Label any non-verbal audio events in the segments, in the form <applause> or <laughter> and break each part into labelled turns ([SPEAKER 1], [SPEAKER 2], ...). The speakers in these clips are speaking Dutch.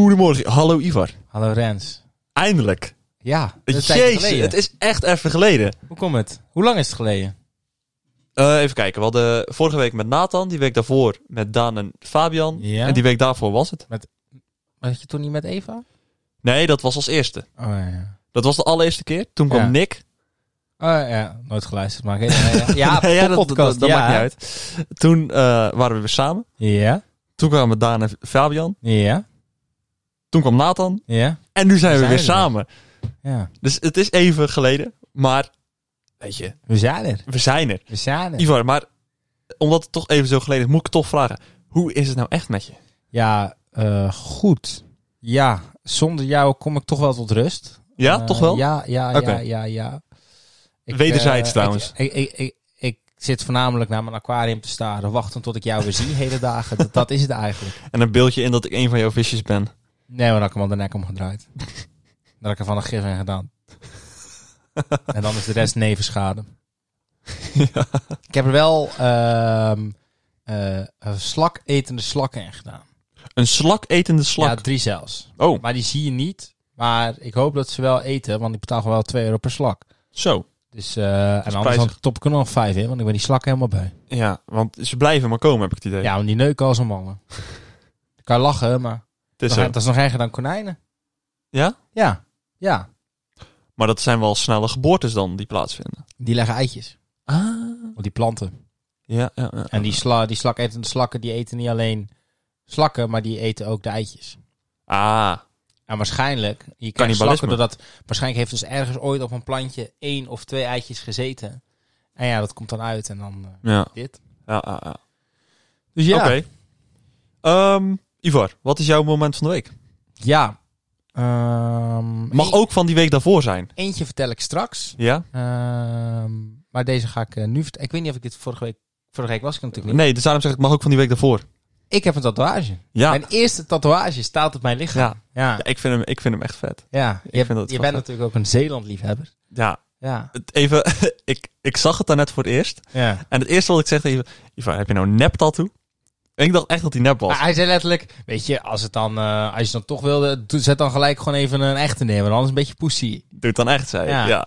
[SPEAKER 1] Goedemorgen. Hallo Ivar.
[SPEAKER 2] Hallo Rens.
[SPEAKER 1] Eindelijk.
[SPEAKER 2] Ja, dat is tijd
[SPEAKER 1] Jezus,
[SPEAKER 2] geleden.
[SPEAKER 1] het is echt even geleden.
[SPEAKER 2] Hoe komt het? Hoe lang is het geleden?
[SPEAKER 1] Eh, even kijken. We hadden vorige week met Nathan, die week daarvoor met Daan en Fabian.
[SPEAKER 2] Ja.
[SPEAKER 1] En die week daarvoor was het.
[SPEAKER 2] Was je toen niet met Eva?
[SPEAKER 1] Nee, dat was als eerste.
[SPEAKER 2] Oh ja.
[SPEAKER 1] Dat was de allereerste keer. Toen kwam
[SPEAKER 2] Ja.
[SPEAKER 1] Nick.
[SPEAKER 2] Oh ja, nooit geluisterd, maar... Ja,
[SPEAKER 1] <laughs>
[SPEAKER 2] ja,
[SPEAKER 1] Nee,
[SPEAKER 2] ja
[SPEAKER 1] dat, dat,
[SPEAKER 2] podcast,
[SPEAKER 1] dat
[SPEAKER 2] ja.
[SPEAKER 1] maakt niet uit. Toen eh, waren we weer samen.
[SPEAKER 2] Ja,
[SPEAKER 1] Toen kwamen Daan en Fabian.
[SPEAKER 2] ja,
[SPEAKER 1] Toen kwam Nathan.
[SPEAKER 2] ja,
[SPEAKER 1] En nu zijn we
[SPEAKER 2] Zijn
[SPEAKER 1] weer
[SPEAKER 2] we weer.
[SPEAKER 1] samen.
[SPEAKER 2] ja.
[SPEAKER 1] Dus het is even geleden. Maar, weet je,
[SPEAKER 2] We zijn er.
[SPEAKER 1] we zijn er.
[SPEAKER 2] We zijn er.
[SPEAKER 1] Ivar, maar omdat het toch even zo geleden is, moet ik toch vragen. Hoe is het nou echt met je?
[SPEAKER 2] Ja, eh, goed. Ja, zonder jou kom ik toch wel tot rust.
[SPEAKER 1] Ja,
[SPEAKER 2] Eh,
[SPEAKER 1] toch wel?
[SPEAKER 2] Ja, ja,
[SPEAKER 1] Oké.
[SPEAKER 2] ja, ja, ja.
[SPEAKER 1] Wederzijds
[SPEAKER 2] eh,
[SPEAKER 1] trouwens.
[SPEAKER 2] Ik, ik, ik, ik, ik zit voornamelijk naar mijn aquarium te staren, wachten tot ik jou weer zie, <laughs> hele dagen. Dat, dat is het eigenlijk.
[SPEAKER 1] En een beeldje in dat ik een van jouw visjes ben.
[SPEAKER 2] Nee, maar dan had ik hem al de nek omgedraaid. Dan had ik er van een gif in gedaan. en dan is de rest nevenschade. Ik heb er wel ehm eh, een slaketende slakken in gedaan.
[SPEAKER 1] Een slak etende
[SPEAKER 2] Ja,
[SPEAKER 1] slak.
[SPEAKER 2] drie zelfs.
[SPEAKER 1] Oh,
[SPEAKER 2] Maar die zie je niet. Maar ik hoop dat ze wel eten, want ik betaal gewoon wel 2 euro per slak.
[SPEAKER 1] zo.
[SPEAKER 2] Dus, eh, en anders
[SPEAKER 1] prijzig.
[SPEAKER 2] dan top ik er nog 5 in, want ik ben die slakken helemaal bij.
[SPEAKER 1] Ja, want ze blijven maar komen, heb ik het idee.
[SPEAKER 2] Ja, want die neuken als een mannen. Ik kan lachen, maar
[SPEAKER 1] het is
[SPEAKER 2] nog- e-
[SPEAKER 1] zo.
[SPEAKER 2] dat is nog erger dan konijnen.
[SPEAKER 1] Ja?
[SPEAKER 2] Ja, ja.
[SPEAKER 1] Maar dat zijn wel snelle geboortes dan die plaatsvinden.
[SPEAKER 2] Die leggen eitjes
[SPEAKER 1] Ah.
[SPEAKER 2] op die planten.
[SPEAKER 1] Ja, ja, ja.
[SPEAKER 2] En die, sla, die slaketende slakken, die eten niet alleen slakken, maar die eten ook de eitjes.
[SPEAKER 1] Ah,
[SPEAKER 2] En waarschijnlijk, je krijgt
[SPEAKER 1] Cannibalisme.
[SPEAKER 2] slakken doordat, waarschijnlijk heeft dus ergens ooit op een plantje één of twee eitjes gezeten. En ja, dat komt dan uit en dan eh,
[SPEAKER 1] ja.
[SPEAKER 2] dit.
[SPEAKER 1] ja, ja, ja.
[SPEAKER 2] Dus ja,
[SPEAKER 1] Oké. Ehm, Ivar, wat is jouw moment van de week?
[SPEAKER 2] ja. Ehm,
[SPEAKER 1] Mag
[SPEAKER 2] e-
[SPEAKER 1] ook van die week daarvoor zijn.
[SPEAKER 2] Eentje vertel ik straks.
[SPEAKER 1] Ja?
[SPEAKER 2] Ehm, maar deze ga ik eh, nu vertellen. Ik weet niet of ik dit vorige week... Vorige week was ik er natuurlijk niet.
[SPEAKER 1] Nee, dus daarom zeg ik, mag ook van die week daarvoor.
[SPEAKER 2] Ik heb een tatoeage.
[SPEAKER 1] Ja.
[SPEAKER 2] Mijn eerste tatoeage staat op mijn lichaam. Ja.
[SPEAKER 1] Ja, ik, vind hem, ik vind hem echt vet.
[SPEAKER 2] ja. Je,
[SPEAKER 1] vind dat
[SPEAKER 2] je
[SPEAKER 1] wel vet.
[SPEAKER 2] bent natuurlijk ook een Zeeland-liefhebber.
[SPEAKER 1] Ja,
[SPEAKER 2] Ja.
[SPEAKER 1] het- even, <laughs> ik, ik zag het daarnet voor het eerst.
[SPEAKER 2] ja.
[SPEAKER 1] En het eerste wat ik zeg tegen Ivar, Ivar, heb je nou een nep tattoo? En ik dacht echt dat hij nep was.
[SPEAKER 2] Maar hij zei letterlijk, weet je, als, het dan, eh, als je het dan toch wilde, doe- zet dan gelijk gewoon even een echte neer, want anders een beetje poesie.
[SPEAKER 1] Doe het dan echt, zei ik.
[SPEAKER 2] Ja.
[SPEAKER 1] Ja.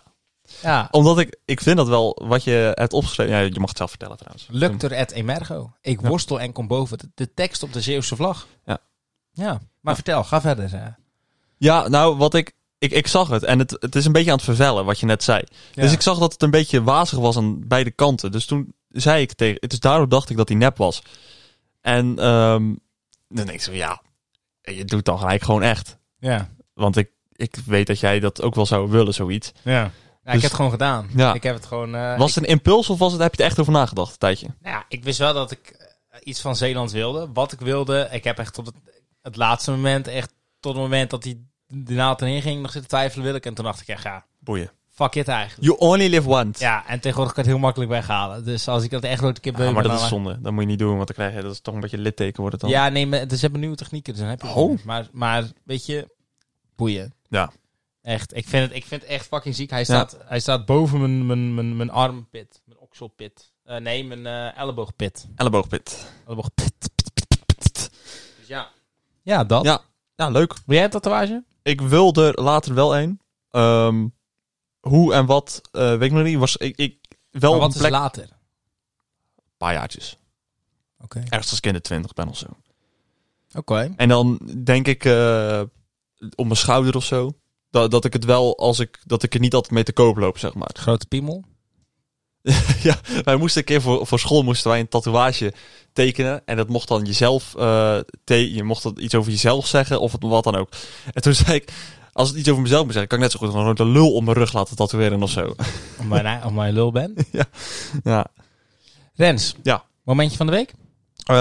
[SPEAKER 2] Ja.
[SPEAKER 1] Omdat ik, ik vind dat wel wat je hebt opgeschreven. Ja, je mag het zelf vertellen trouwens.
[SPEAKER 2] Luctor et emergo. Ik
[SPEAKER 1] Ja.
[SPEAKER 2] worstel en kom boven. De, de tekst op de Zeeuwse vlag.
[SPEAKER 1] Ja.
[SPEAKER 2] Ja, maar vertel, ga verder. eh.
[SPEAKER 1] Ja, nou, wat ik, ik, ik zag het. En het, het is een beetje aan het vervellen, wat je net zei. Dus ik zag dat het een beetje wazig was aan beide kanten. Dus toen zei ik tegen... Dus daardoor dacht ik dat hij nep was. En ehm, dan denk ik zo, ja, je doet dan gelijk gewoon echt.
[SPEAKER 2] Ja.
[SPEAKER 1] Want ik, ik weet dat jij dat ook wel zou willen, zoiets.
[SPEAKER 2] ja. ik
[SPEAKER 1] Dus-
[SPEAKER 2] heb het gewoon gedaan.
[SPEAKER 1] Ja.
[SPEAKER 2] Ik heb het gewoon... eh,
[SPEAKER 1] Was het een impuls of was het, heb je er echt over nagedacht, een tijdje?
[SPEAKER 2] Nou ja, ik wist wel dat ik eh, iets van Zeeland wilde. Wat ik wilde. Ik heb echt tot het, het laatste moment, echt tot het moment dat die de naald erin ging, nog zitten twijfelen wil ik. En toen dacht ik echt, ja,
[SPEAKER 1] Boeien.
[SPEAKER 2] fuck it eigenlijk.
[SPEAKER 1] You only live once.
[SPEAKER 2] Ja, en tegenwoordig kan ik het heel makkelijk weghalen. Dus als ik dat echt nooit een keer
[SPEAKER 1] Ah,
[SPEAKER 2] beu
[SPEAKER 1] maar
[SPEAKER 2] ben,
[SPEAKER 1] dat is
[SPEAKER 2] dan-
[SPEAKER 1] zonde. Dat moet je niet doen, want dan krijg je dat is toch een beetje litteken wordt het dan.
[SPEAKER 2] Ja, nee, maar het is hebben nieuwe technieken, dus dan heb je het
[SPEAKER 1] Oh.
[SPEAKER 2] niet meer. maar, maar, weet je, boeien.
[SPEAKER 1] Ja.
[SPEAKER 2] Echt, ik vind het, ik vind het echt fucking ziek. Hij staat, hij staat boven mijn, mijn, mijn, mijn armpit, mijn okselpit. Eh, nee, mijn eh, elleboogpit.
[SPEAKER 1] Elleboogpit.
[SPEAKER 2] Elleboogpit. Dus ja. Ja, dat.
[SPEAKER 1] Ja. Ja, Nou, leuk.
[SPEAKER 2] Wil jij een tatoeage?
[SPEAKER 1] Ik wil er later wel een. Ehm, hoe en wat, eh, weet ik nog niet. Was, ik, ik, wel
[SPEAKER 2] Maar
[SPEAKER 1] op
[SPEAKER 2] wat
[SPEAKER 1] een
[SPEAKER 2] is
[SPEAKER 1] plek...
[SPEAKER 2] later? Oké.
[SPEAKER 1] Een paar jaartjes. Ergens als ik in de twintig ben of zo.
[SPEAKER 2] Oké.
[SPEAKER 1] En dan denk ik eh, op mijn schouder of zo. Dat, dat ik het wel, als ik, dat ik er niet altijd mee te koop loop, zeg maar.
[SPEAKER 2] Grote piemel.
[SPEAKER 1] Ja, wij moesten een keer voor, voor school moesten wij een tatoeage tekenen. En dat mocht dan jezelf, eh, te- je mocht dat iets over jezelf zeggen of het- wat dan ook. En toen zei ik, als het iets over mezelf moet zeggen, kan ik net zo goed gewoon een lul op mijn rug laten tatoeëren of zo. <laughs>
[SPEAKER 2] Om mijn, om mijn lul ben.
[SPEAKER 1] Ja,
[SPEAKER 2] Rens.
[SPEAKER 1] Ja.
[SPEAKER 2] Momentje van de week?
[SPEAKER 1] Eh,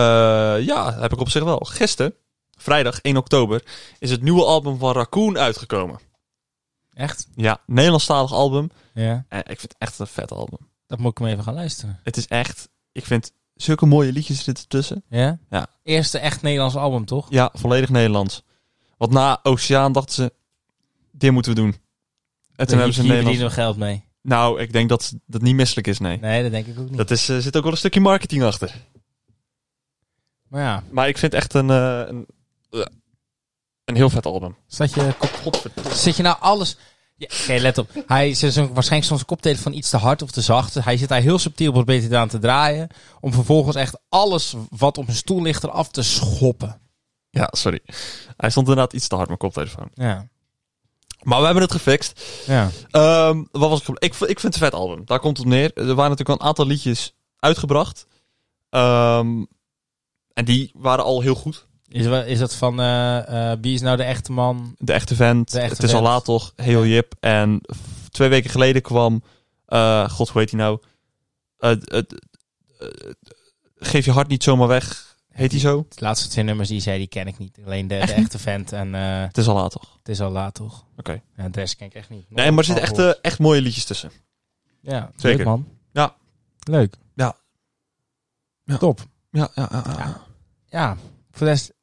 [SPEAKER 1] ja heb ik op zich wel. Gisteren, vrijdag 1 oktober, is het nieuwe album van Raccoon uitgekomen.
[SPEAKER 2] Echt?
[SPEAKER 1] Ja, Nederlandstalig album.
[SPEAKER 2] Ja.
[SPEAKER 1] En ik vind het echt een vet album.
[SPEAKER 2] Dat moet ik hem even gaan luisteren.
[SPEAKER 1] Het is echt, ik vind zulke mooie liedjes zitten tussen.
[SPEAKER 2] Ja?
[SPEAKER 1] Ja.
[SPEAKER 2] Eerste echt Nederlands album, toch?
[SPEAKER 1] Ja, volledig Nederlands. Want na Oceaan dachten ze, dit moeten we doen. En toen
[SPEAKER 2] Hier-
[SPEAKER 1] hebben ze een
[SPEAKER 2] hier
[SPEAKER 1] Nederlands...
[SPEAKER 2] verdienen we geld mee.
[SPEAKER 1] Nou, ik denk dat dat niet misselijk is, nee.
[SPEAKER 2] Nee, dat denk ik ook niet.
[SPEAKER 1] Dat is, eh, zit ook wel een stukje marketing achter.
[SPEAKER 2] Maar ja,
[SPEAKER 1] Maar ik vind echt een, eh, een, een heel vet album.
[SPEAKER 2] zat je, zit je nou alles... Ja, Oké, let op. Hij zet zijn, waarschijnlijk soms koptelefoon iets te hard of te zacht. Hij zit daar heel subtiel probeert hij aan te draaien. Om vervolgens echt alles wat op zijn stoel ligt eraf te schoppen.
[SPEAKER 1] Ja, sorry. Hij stond inderdaad iets te hard mijn koptelefoon.
[SPEAKER 2] Ja.
[SPEAKER 1] Maar we hebben het gefixt.
[SPEAKER 2] Ja.
[SPEAKER 1] Ehm, wat was ik, ik? v- Ik vind het een vet album. Daar komt het op neer. Er waren natuurlijk wel een aantal liedjes uitgebracht. Ehm, en die waren al heel goed.
[SPEAKER 2] Is, wa- is dat van eh, eh, wie is nou de echte man?
[SPEAKER 1] De echte vent.
[SPEAKER 2] De Echte
[SPEAKER 1] het is al
[SPEAKER 2] Vent.
[SPEAKER 1] laat toch. Heel jip. En f- twee weken geleden kwam... eh, God, hoe heet hij nou? Eh, d- eh, d- eh, geef je hart niet zomaar weg. Heet hij zo?
[SPEAKER 2] De laatste twee nummers die hij zei, die ken ik niet. Alleen de, de echte vent en eh,
[SPEAKER 1] Het is al laat toch?
[SPEAKER 2] het is al laat toch?
[SPEAKER 1] Oké.
[SPEAKER 2] Ja, de rest ken ik echt niet.
[SPEAKER 1] Nee, maar er zitten echt, eh, echt mooie liedjes tussen.
[SPEAKER 2] Ja,
[SPEAKER 1] Zeker.
[SPEAKER 2] leuk man.
[SPEAKER 1] Ja.
[SPEAKER 2] Leuk.
[SPEAKER 1] Ja. Ja.
[SPEAKER 2] Top.
[SPEAKER 1] Ja, ja, ja.
[SPEAKER 2] Ja. Ja, voor de rest...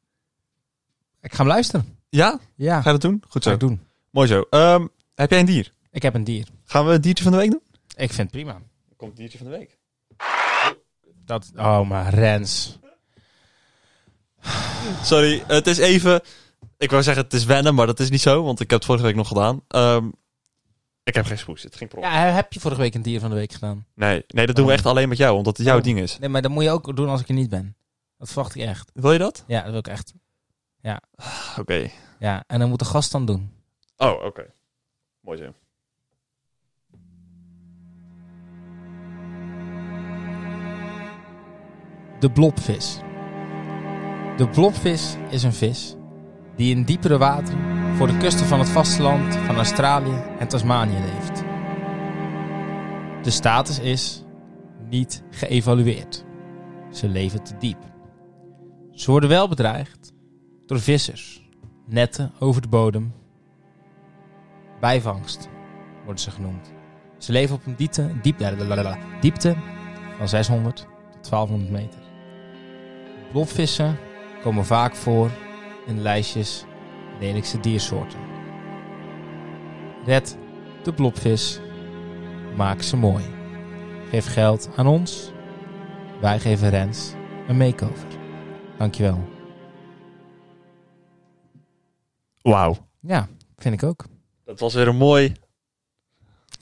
[SPEAKER 2] Ik ga hem luisteren.
[SPEAKER 1] Ja?
[SPEAKER 2] Ja,
[SPEAKER 1] Ga je dat doen? Goed
[SPEAKER 2] ga
[SPEAKER 1] zo.
[SPEAKER 2] ik doen.
[SPEAKER 1] Mooi zo. Ehm, heb jij een dier?
[SPEAKER 2] Ik heb een dier.
[SPEAKER 1] Gaan we het diertje van de week doen?
[SPEAKER 2] Ik vind het prima.
[SPEAKER 1] Komt het diertje van de week.
[SPEAKER 2] Dat, oh, maar Rens.
[SPEAKER 1] Sorry, het is even... Ik wou zeggen het is wennen, maar dat is niet zo, want ik heb het vorige week nog gedaan. Ehm, ik heb geen spoes, het ging per ongeluk.
[SPEAKER 2] Ja, heb je vorige week een dier van de week gedaan?
[SPEAKER 1] Nee, nee, dat doen we echt alleen met jou, omdat het jouw ding is.
[SPEAKER 2] Nee, maar dat moet je ook doen als ik er niet ben. Dat verwacht ik echt.
[SPEAKER 1] Wil je dat?
[SPEAKER 2] Ja, dat wil ik echt.
[SPEAKER 1] Ah, Oké.
[SPEAKER 2] Ja, en dan moet de gast dan doen.
[SPEAKER 1] Oh, oké. Mooi zo.
[SPEAKER 2] De blobvis. De blobvis is een vis die in diepere wateren voor de kusten van het vasteland van Australië en Tasmanië leeft. De status is niet geëvalueerd. Ze leven te diep. Ze worden wel bedreigd door vissers, netten over de bodem. Bijvangst worden ze genoemd. Ze leven op een diepte, diepte, diepte van 600 tot 1200 meter. Blobvissen komen vaak voor in de lijstjes lelijkste diersoorten. Red de blobvis. Maak ze mooi. Geef geld aan ons. Wij geven Rens een makeover. Dankjewel.
[SPEAKER 1] Wauw.
[SPEAKER 2] Ja, vind ik ook.
[SPEAKER 1] Dat was weer een mooi,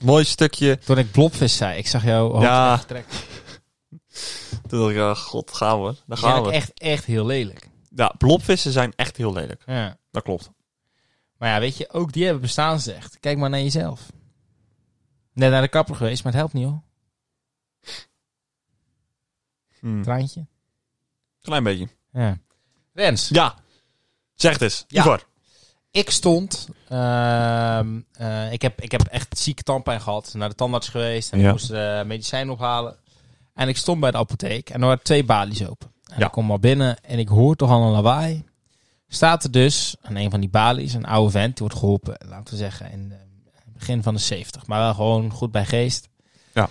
[SPEAKER 1] mooi stukje.
[SPEAKER 2] Toen ik blobvis zei, ik zag jou hoofd
[SPEAKER 1] Ja.
[SPEAKER 2] echt trekken.
[SPEAKER 1] Toen dacht ik, ah, god, gaan we. Daar
[SPEAKER 2] Die
[SPEAKER 1] gaan
[SPEAKER 2] zijn
[SPEAKER 1] we.
[SPEAKER 2] echt, echt heel lelijk.
[SPEAKER 1] Ja, blobvissen zijn echt heel lelijk.
[SPEAKER 2] Ja.
[SPEAKER 1] Dat klopt.
[SPEAKER 2] Maar ja, weet je, ook die hebben bestaansrecht. Kijk maar naar jezelf. Net naar de kapper geweest, maar het helpt niet hoor.
[SPEAKER 1] Hmm.
[SPEAKER 2] Traantje.
[SPEAKER 1] Klein beetje.
[SPEAKER 2] Hm. Ja. Rens,
[SPEAKER 1] Ja. Zeg het eens.
[SPEAKER 2] Ja.
[SPEAKER 1] Igor.
[SPEAKER 2] ik stond. ehm, eh, ik, heb, ik heb echt ziek tandpijn gehad. Naar de tandarts geweest en ik
[SPEAKER 1] Ja.
[SPEAKER 2] moest eh medicijnen ophalen. En ik stond bij de apotheek en er waren twee balies open. En
[SPEAKER 1] Ja.
[SPEAKER 2] ik kom al binnen en ik hoor toch al een lawaai. Staat er dus aan een van die balies een oude vent. Die wordt geholpen, laten we zeggen, in het begin van de 70. Maar wel gewoon goed bij geest.
[SPEAKER 1] Ja.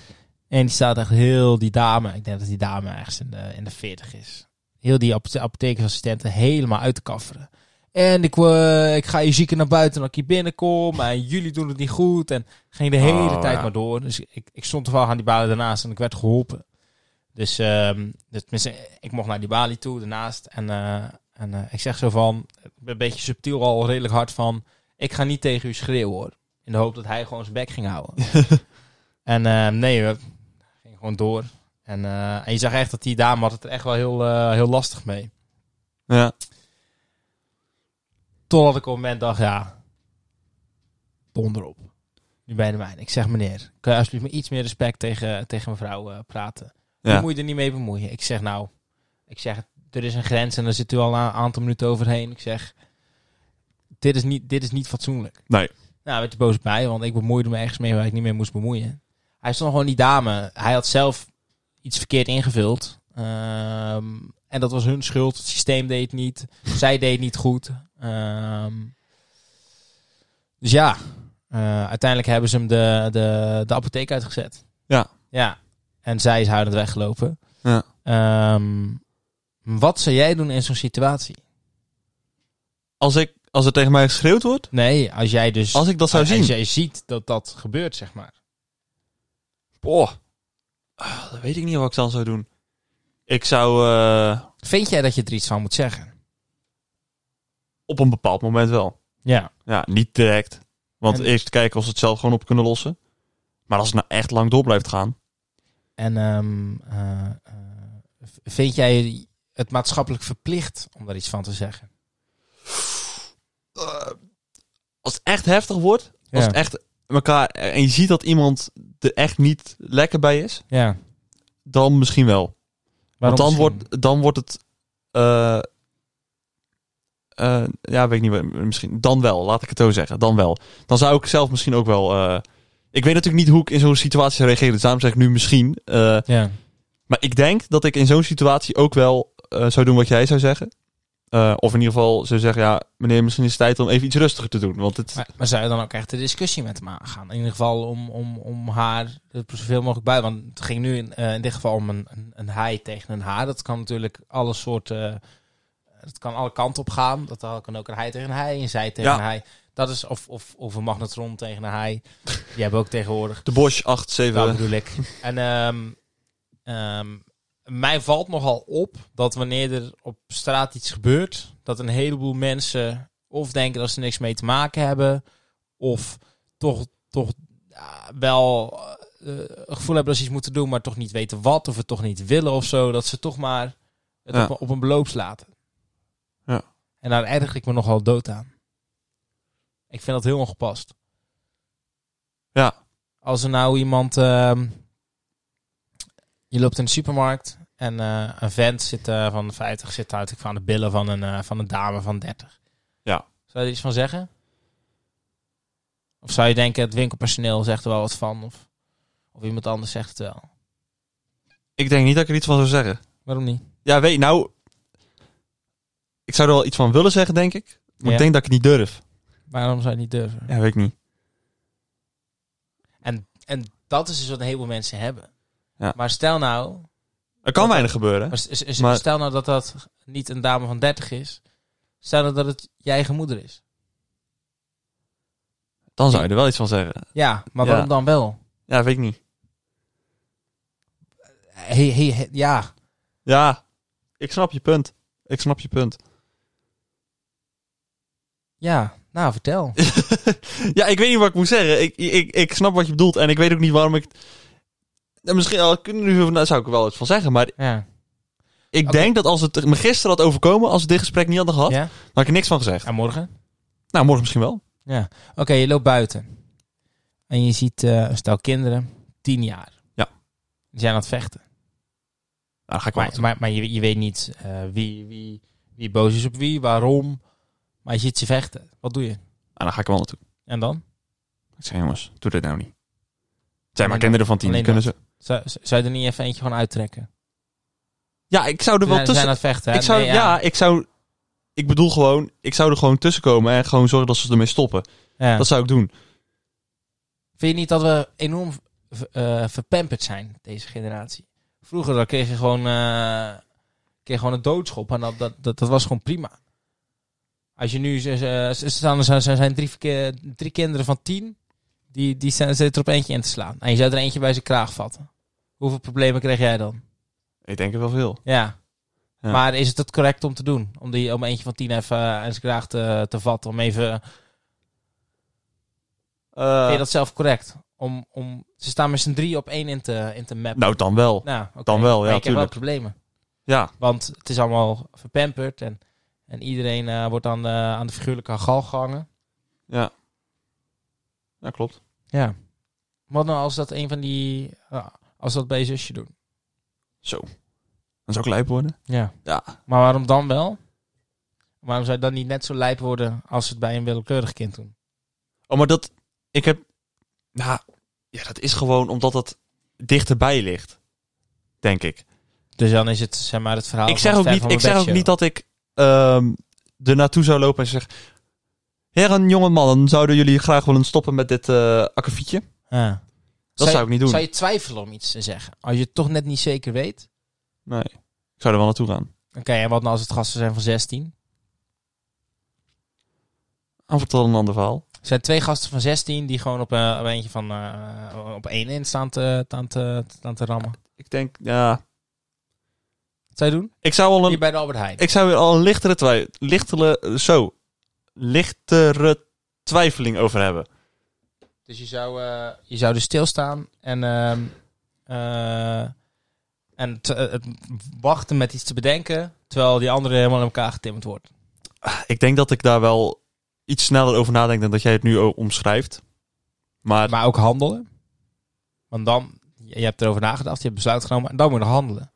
[SPEAKER 2] En die staat echt heel die dame. Ik denk dat die dame ergens in de, in de 40 is. Heel die apothe- apothekersassistenten helemaal uit te kafferen. En ik, eh, ik ga je zieken naar buiten dat ik hier binnenkom. En jullie doen het niet goed. En ging de hele
[SPEAKER 1] Oh,
[SPEAKER 2] tijd
[SPEAKER 1] ja.
[SPEAKER 2] maar door. Dus ik, ik stond toevallig aan die balie daarnaast en ik werd geholpen. Dus, ehm, dus tenminste, ik mocht naar die balie toe daarnaast. En, eh, en eh, ik zeg zo van, een beetje subtiel al redelijk hard van... Ik ga niet tegen u schreeuwen hoor. In de hoop dat hij gewoon zijn bek ging houden.
[SPEAKER 1] <laughs>
[SPEAKER 2] en eh, nee, we ging gewoon door. En, eh, en je zag echt dat die dame had het er echt wel heel, eh, heel lastig mee.
[SPEAKER 1] Ja.
[SPEAKER 2] Totdat ik op een moment dacht, ja, donder op. Nu ben je de mijne. Ik zeg, meneer, kun je alsjeblieft met iets meer respect tegen, tegen mevrouw eh, praten?
[SPEAKER 1] Ja.
[SPEAKER 2] Je moet je er niet mee bemoeien. Ik zeg, nou, ik zeg, er is een grens en daar zit u al een aantal minuten overheen. Ik zeg, dit is niet, dit is niet fatsoenlijk.
[SPEAKER 1] Nee.
[SPEAKER 2] Nou, hij werd er boos op mij, want ik bemoeide me ergens mee waar ik niet mee moest bemoeien. Hij stond gewoon die dame. Hij had zelf iets verkeerd ingevuld. Ehm, en dat was hun schuld. Het systeem deed het niet. Zij deed het niet goed. Ehm, dus ja, eh, uiteindelijk hebben ze hem de, de, de apotheek uitgezet.
[SPEAKER 1] Ja.
[SPEAKER 2] Ja. En zij is huilend weggelopen.
[SPEAKER 1] Ja.
[SPEAKER 2] Ehm, wat zou jij doen in zo'n situatie?
[SPEAKER 1] Als, ik, als er tegen mij geschreeuwd wordt,
[SPEAKER 2] Nee, als jij dus...
[SPEAKER 1] als ik dat zou
[SPEAKER 2] als
[SPEAKER 1] zien.
[SPEAKER 2] jij ziet dat dat gebeurt, zeg maar.
[SPEAKER 1] Oh. Boah. Ah, Dat weet ik niet wat ik dan zou doen. Ik zou... eh,
[SPEAKER 2] Vind jij dat je er iets van moet zeggen?
[SPEAKER 1] Op een bepaald moment wel.
[SPEAKER 2] Ja.
[SPEAKER 1] Ja, niet direct. Want
[SPEAKER 2] En-
[SPEAKER 1] eerst kijken of ze het zelf gewoon op kunnen lossen. Maar als het nou echt lang door blijft gaan.
[SPEAKER 2] En ehm, eh, eh, v- vind jij het maatschappelijk verplicht om daar iets van te zeggen?
[SPEAKER 1] eh, als het echt heftig wordt. Als
[SPEAKER 2] Ja.
[SPEAKER 1] het echt elkaar. En je ziet dat iemand er echt niet lekker bij is.
[SPEAKER 2] Ja.
[SPEAKER 1] Dan misschien wel.
[SPEAKER 2] Waarom
[SPEAKER 1] Want dan
[SPEAKER 2] misschien?
[SPEAKER 1] wordt, dan wordt het. eh, eh, ja, weet ik niet. waar- Misschien. Dan wel, laat ik het zo zeggen. Dan wel. Dan zou ik zelf misschien ook wel. eh, ik weet natuurlijk niet hoe ik in zo'n situatie zou reageren. Dus daarom zeg ik nu misschien. eh,
[SPEAKER 2] Ja.
[SPEAKER 1] Maar ik denk dat ik in zo'n situatie ook wel eh, zou doen wat jij zou zeggen. Eh, of in ieder geval zou zeggen, ja, meneer, misschien is het tijd om even iets rustiger te doen. Want het,
[SPEAKER 2] Maar, maar zou je dan ook echt de discussie met hem aangaan? In ieder geval om, om, om haar er zoveel mogelijk bij. Want het ging nu in, eh, in dit geval om een, een, een hij tegen een haar. Dat kan natuurlijk alle soorten. eh, Het kan alle kanten op gaan. Dat kan ook een hij tegen een hij, een zij tegen
[SPEAKER 1] Ja.
[SPEAKER 2] een hij. Dat is of, of, of een magnetron tegen een hij. Die hebben we ook tegenwoordig.
[SPEAKER 1] de Bosch 8, 7...
[SPEAKER 2] Dat Nou bedoel ik. En ehm, ehm, mij valt nogal op dat wanneer er op straat iets gebeurt, dat een heleboel mensen of denken dat ze niks mee te maken hebben, of toch, toch ja, wel eh, eh, het gevoel hebben dat ze iets moeten doen, maar toch niet weten wat, of het toch niet willen of zo, dat ze toch maar het
[SPEAKER 1] Ja.
[SPEAKER 2] op, op een beloop laten.
[SPEAKER 1] Ja.
[SPEAKER 2] En daar erger ik me nogal dood aan. Ik vind dat heel ongepast
[SPEAKER 1] ja,
[SPEAKER 2] als er nou iemand. ehm, je loopt in de supermarkt en eh, een vent zit, eh, van de 50 zit uit aan de billen van een, eh, van een dame van 30.
[SPEAKER 1] Ja.
[SPEAKER 2] Zou je er iets van zeggen? Of zou je denken, het winkelpersoneel zegt er wel wat van? Of, of iemand anders zegt het wel?
[SPEAKER 1] ik denk niet dat ik er iets van zou zeggen.
[SPEAKER 2] Waarom niet?
[SPEAKER 1] Ja, weet nou... Ik zou er wel iets van willen zeggen, denk ik. Maar
[SPEAKER 2] Ja.
[SPEAKER 1] ik denk dat ik het niet durf.
[SPEAKER 2] Waarom zou je het niet durven?
[SPEAKER 1] Ja, weet ik niet.
[SPEAKER 2] En, en dat is dus wat een heleboel mensen hebben.
[SPEAKER 1] Ja.
[SPEAKER 2] Maar stel nou,
[SPEAKER 1] Er kan weinig gebeuren. hè?
[SPEAKER 2] maar s- s- s-
[SPEAKER 1] Maar-
[SPEAKER 2] stel nou dat dat niet een dame van 30 is. Stel nou dat het je eigen moeder is.
[SPEAKER 1] Dan zou je er wel iets van zeggen.
[SPEAKER 2] Ja, maar
[SPEAKER 1] Ja.
[SPEAKER 2] waarom dan wel?
[SPEAKER 1] Ja, weet ik niet.
[SPEAKER 2] Hey, hey, hey, ja.
[SPEAKER 1] Ja, ik snap je punt. Ik snap je punt.
[SPEAKER 2] Ja,
[SPEAKER 1] <laughs>
[SPEAKER 2] nou vertel.
[SPEAKER 1] Ja, ik weet niet wat ik moet zeggen. Ik, ik, ik snap wat je bedoelt en ik weet ook niet waarom ik... Ja, misschien al, kunnen jullie- nou, zou ik er wel iets van zeggen, maar
[SPEAKER 2] Ja.
[SPEAKER 1] ik
[SPEAKER 2] Oké.
[SPEAKER 1] denk dat als het me gisteren had overkomen, als we dit gesprek niet hadden gehad,
[SPEAKER 2] ja?
[SPEAKER 1] dan had ik er niks van gezegd.
[SPEAKER 2] En morgen?
[SPEAKER 1] Nou, morgen misschien wel.
[SPEAKER 2] Ja. Oké, je loopt buiten. En je ziet eh, een stel kinderen, tien jaar.
[SPEAKER 1] Ja.
[SPEAKER 2] Die zijn aan het vechten.
[SPEAKER 1] Nou, dan ga ik wel.
[SPEAKER 2] Maar, maar, maar je, je weet niet eh, wie, wie, wie boos is op wie, waarom. Maar je ziet ze vechten. Wat doe je?
[SPEAKER 1] Nou, dan ga ik wel naartoe.
[SPEAKER 2] En dan?
[SPEAKER 1] Ik zeg, jongens, doe dit nou niet. Het zijn maar
[SPEAKER 2] Alleen
[SPEAKER 1] kinderen van tien, die
[SPEAKER 2] alleen
[SPEAKER 1] kunnen ze...
[SPEAKER 2] Zou, zou je er niet even eentje gewoon uittrekken?
[SPEAKER 1] Ja, ik zou er
[SPEAKER 2] Ze
[SPEAKER 1] wel
[SPEAKER 2] zijn, ze zijn aan
[SPEAKER 1] tussen...
[SPEAKER 2] het vechten. hè?
[SPEAKER 1] Ik zou,
[SPEAKER 2] Nee,
[SPEAKER 1] ja. ik zou... Ik bedoel gewoon, ik zou er gewoon tussen komen en gewoon zorgen dat ze ermee stoppen.
[SPEAKER 2] Ja.
[SPEAKER 1] Dat zou ik doen.
[SPEAKER 2] Vind je niet dat we enorm v- eh, verpamperd zijn, deze generatie? Vroeger dan kreeg je gewoon, eh, kreeg gewoon een doodschop en dat, dat, dat, dat was gewoon prima. Als je nu, ze, ze, ze staan, er zijn, zijn- zijn drie, verke- drie kinderen van tien, die, die zijn, zitten er op eentje in te slaan. En je zou er eentje bij zijn kraag vatten. Hoeveel problemen kreeg jij dan?
[SPEAKER 1] Ik denk er wel veel.
[SPEAKER 2] Ja.
[SPEAKER 1] Ja.
[SPEAKER 2] Maar is het dat correct om te doen? Om, die, om eentje van tien even eh, aan zijn kraag te, te vatten? Om even
[SPEAKER 1] Eh,
[SPEAKER 2] Vind je dat zelf correct? Om, om, ze staan met z'n drie op één in te, in te mappen.
[SPEAKER 1] Nou, dan wel.
[SPEAKER 2] nou, oké.
[SPEAKER 1] dan wel, ja,
[SPEAKER 2] Maar je krijgt wel
[SPEAKER 1] tuurlijk.
[SPEAKER 2] problemen.
[SPEAKER 1] Ja,
[SPEAKER 2] Want het is allemaal verpamperd en, en iedereen eh, wordt aan de, aan de figuurlijke gal gehangen.
[SPEAKER 1] ja. Ja, klopt.
[SPEAKER 2] Ja. Wat nou als dat een van die... ja, als dat bij je zusje doen?
[SPEAKER 1] Zo. Dan zou ik lijp worden.
[SPEAKER 2] Ja.
[SPEAKER 1] Ja.
[SPEAKER 2] Maar waarom dan wel? Waarom zou je dan niet net zo lijp worden als het bij een willekeurig kind doen?
[SPEAKER 1] Oh, maar dat... Ik heb... Nou, ja, dat is gewoon omdat dat dichterbij ligt. Denk ik.
[SPEAKER 2] Dus dan is het, zeg maar, het verhaal
[SPEAKER 1] ik zeg
[SPEAKER 2] van
[SPEAKER 1] ook
[SPEAKER 2] Stijn
[SPEAKER 1] niet,
[SPEAKER 2] van
[SPEAKER 1] ik zeg ook
[SPEAKER 2] Bedshow.
[SPEAKER 1] niet dat ik ehm er naartoe zou lopen en zeg... Heren, jonge mannen, zouden jullie graag willen stoppen met dit eh akkefietje?
[SPEAKER 2] Ja.
[SPEAKER 1] Dat zou,
[SPEAKER 2] je-
[SPEAKER 1] ik niet doen.
[SPEAKER 2] Zou je twijfelen om iets te zeggen? Als je het toch net niet zeker weet?
[SPEAKER 1] Nee. Ik zou er wel naartoe gaan.
[SPEAKER 2] Oké, en wat nou als het gasten zijn van 16?
[SPEAKER 1] Aanvertel een ander verhaal.
[SPEAKER 2] Er zijn twee gasten van 16 die gewoon op, eh, op eentje van eh, op één in staan te, staan te, staan te rammen.
[SPEAKER 1] Ik denk, ja...
[SPEAKER 2] Wat zou je doen?
[SPEAKER 1] Ik zou al
[SPEAKER 2] Hier
[SPEAKER 1] een,
[SPEAKER 2] bij de Albert Heijn.
[SPEAKER 1] ik zou weer al een lichtere, twij, lichtere, zo, lichtere twijfeling over hebben.
[SPEAKER 2] Dus je zou, eh, je zou dus stilstaan en, ehm, eh, en te- eh, het wachten met iets te bedenken, terwijl die andere helemaal in elkaar getimmerd wordt.
[SPEAKER 1] Ik denk dat ik daar wel iets sneller over nadenk dan dat jij het nu o- omschrijft. Maar
[SPEAKER 2] Maar ook handelen. Want dan, je je hebt erover nagedacht, je hebt besluit genomen en dan moet je nog handelen.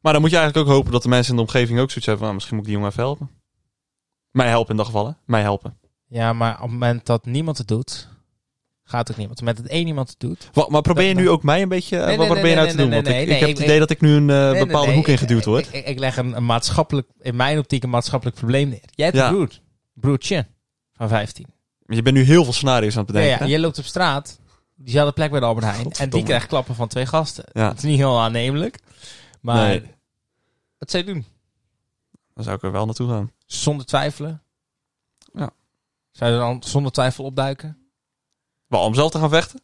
[SPEAKER 1] Maar dan moet je eigenlijk ook hopen dat de mensen in de omgeving ook zoiets hebben van... nou, misschien moet ik die jongen even helpen. Mij helpen in dat geval, hè? Mij helpen.
[SPEAKER 2] Ja, maar op het moment dat niemand het doet, gaat ook niemand. Op het moment dat één iemand het doet,
[SPEAKER 1] Wat, maar probeer je
[SPEAKER 2] Dat-
[SPEAKER 1] nu ook mij een beetje...
[SPEAKER 2] nee,
[SPEAKER 1] wat probeer
[SPEAKER 2] nee,
[SPEAKER 1] je nou
[SPEAKER 2] nee,
[SPEAKER 1] te doen?
[SPEAKER 2] nee,
[SPEAKER 1] Want ik,
[SPEAKER 2] nee,
[SPEAKER 1] ik
[SPEAKER 2] nee,
[SPEAKER 1] heb
[SPEAKER 2] ik-
[SPEAKER 1] het idee dat ik nu een eh,
[SPEAKER 2] Nee, nee,
[SPEAKER 1] bepaalde
[SPEAKER 2] nee,
[SPEAKER 1] hoek
[SPEAKER 2] ik-
[SPEAKER 1] ingeduwd
[SPEAKER 2] ik-
[SPEAKER 1] word.
[SPEAKER 2] Ik, ik leg een, een maatschappelijk, in mijn optiek, een maatschappelijk probleem neer. Jij hebt
[SPEAKER 1] Ja.
[SPEAKER 2] een broer, broertje van 15.
[SPEAKER 1] Je bent nu heel veel scenario's aan het
[SPEAKER 2] Ja,
[SPEAKER 1] bedenken.
[SPEAKER 2] ja,
[SPEAKER 1] hè?
[SPEAKER 2] je loopt op straat, diezelfde plek bij de Albert Heijn, en die
[SPEAKER 1] Godverdomme.
[SPEAKER 2] krijgt klappen van twee gasten.
[SPEAKER 1] Ja.
[SPEAKER 2] Dat is niet heel aannemelijk, maar
[SPEAKER 1] Nee.
[SPEAKER 2] wat zou je doen?
[SPEAKER 1] Dan zou ik er wel naartoe gaan.
[SPEAKER 2] Zonder twijfelen?
[SPEAKER 1] Ja.
[SPEAKER 2] Zou je dan zonder twijfel opduiken?
[SPEAKER 1] Wel, om zelf te gaan vechten?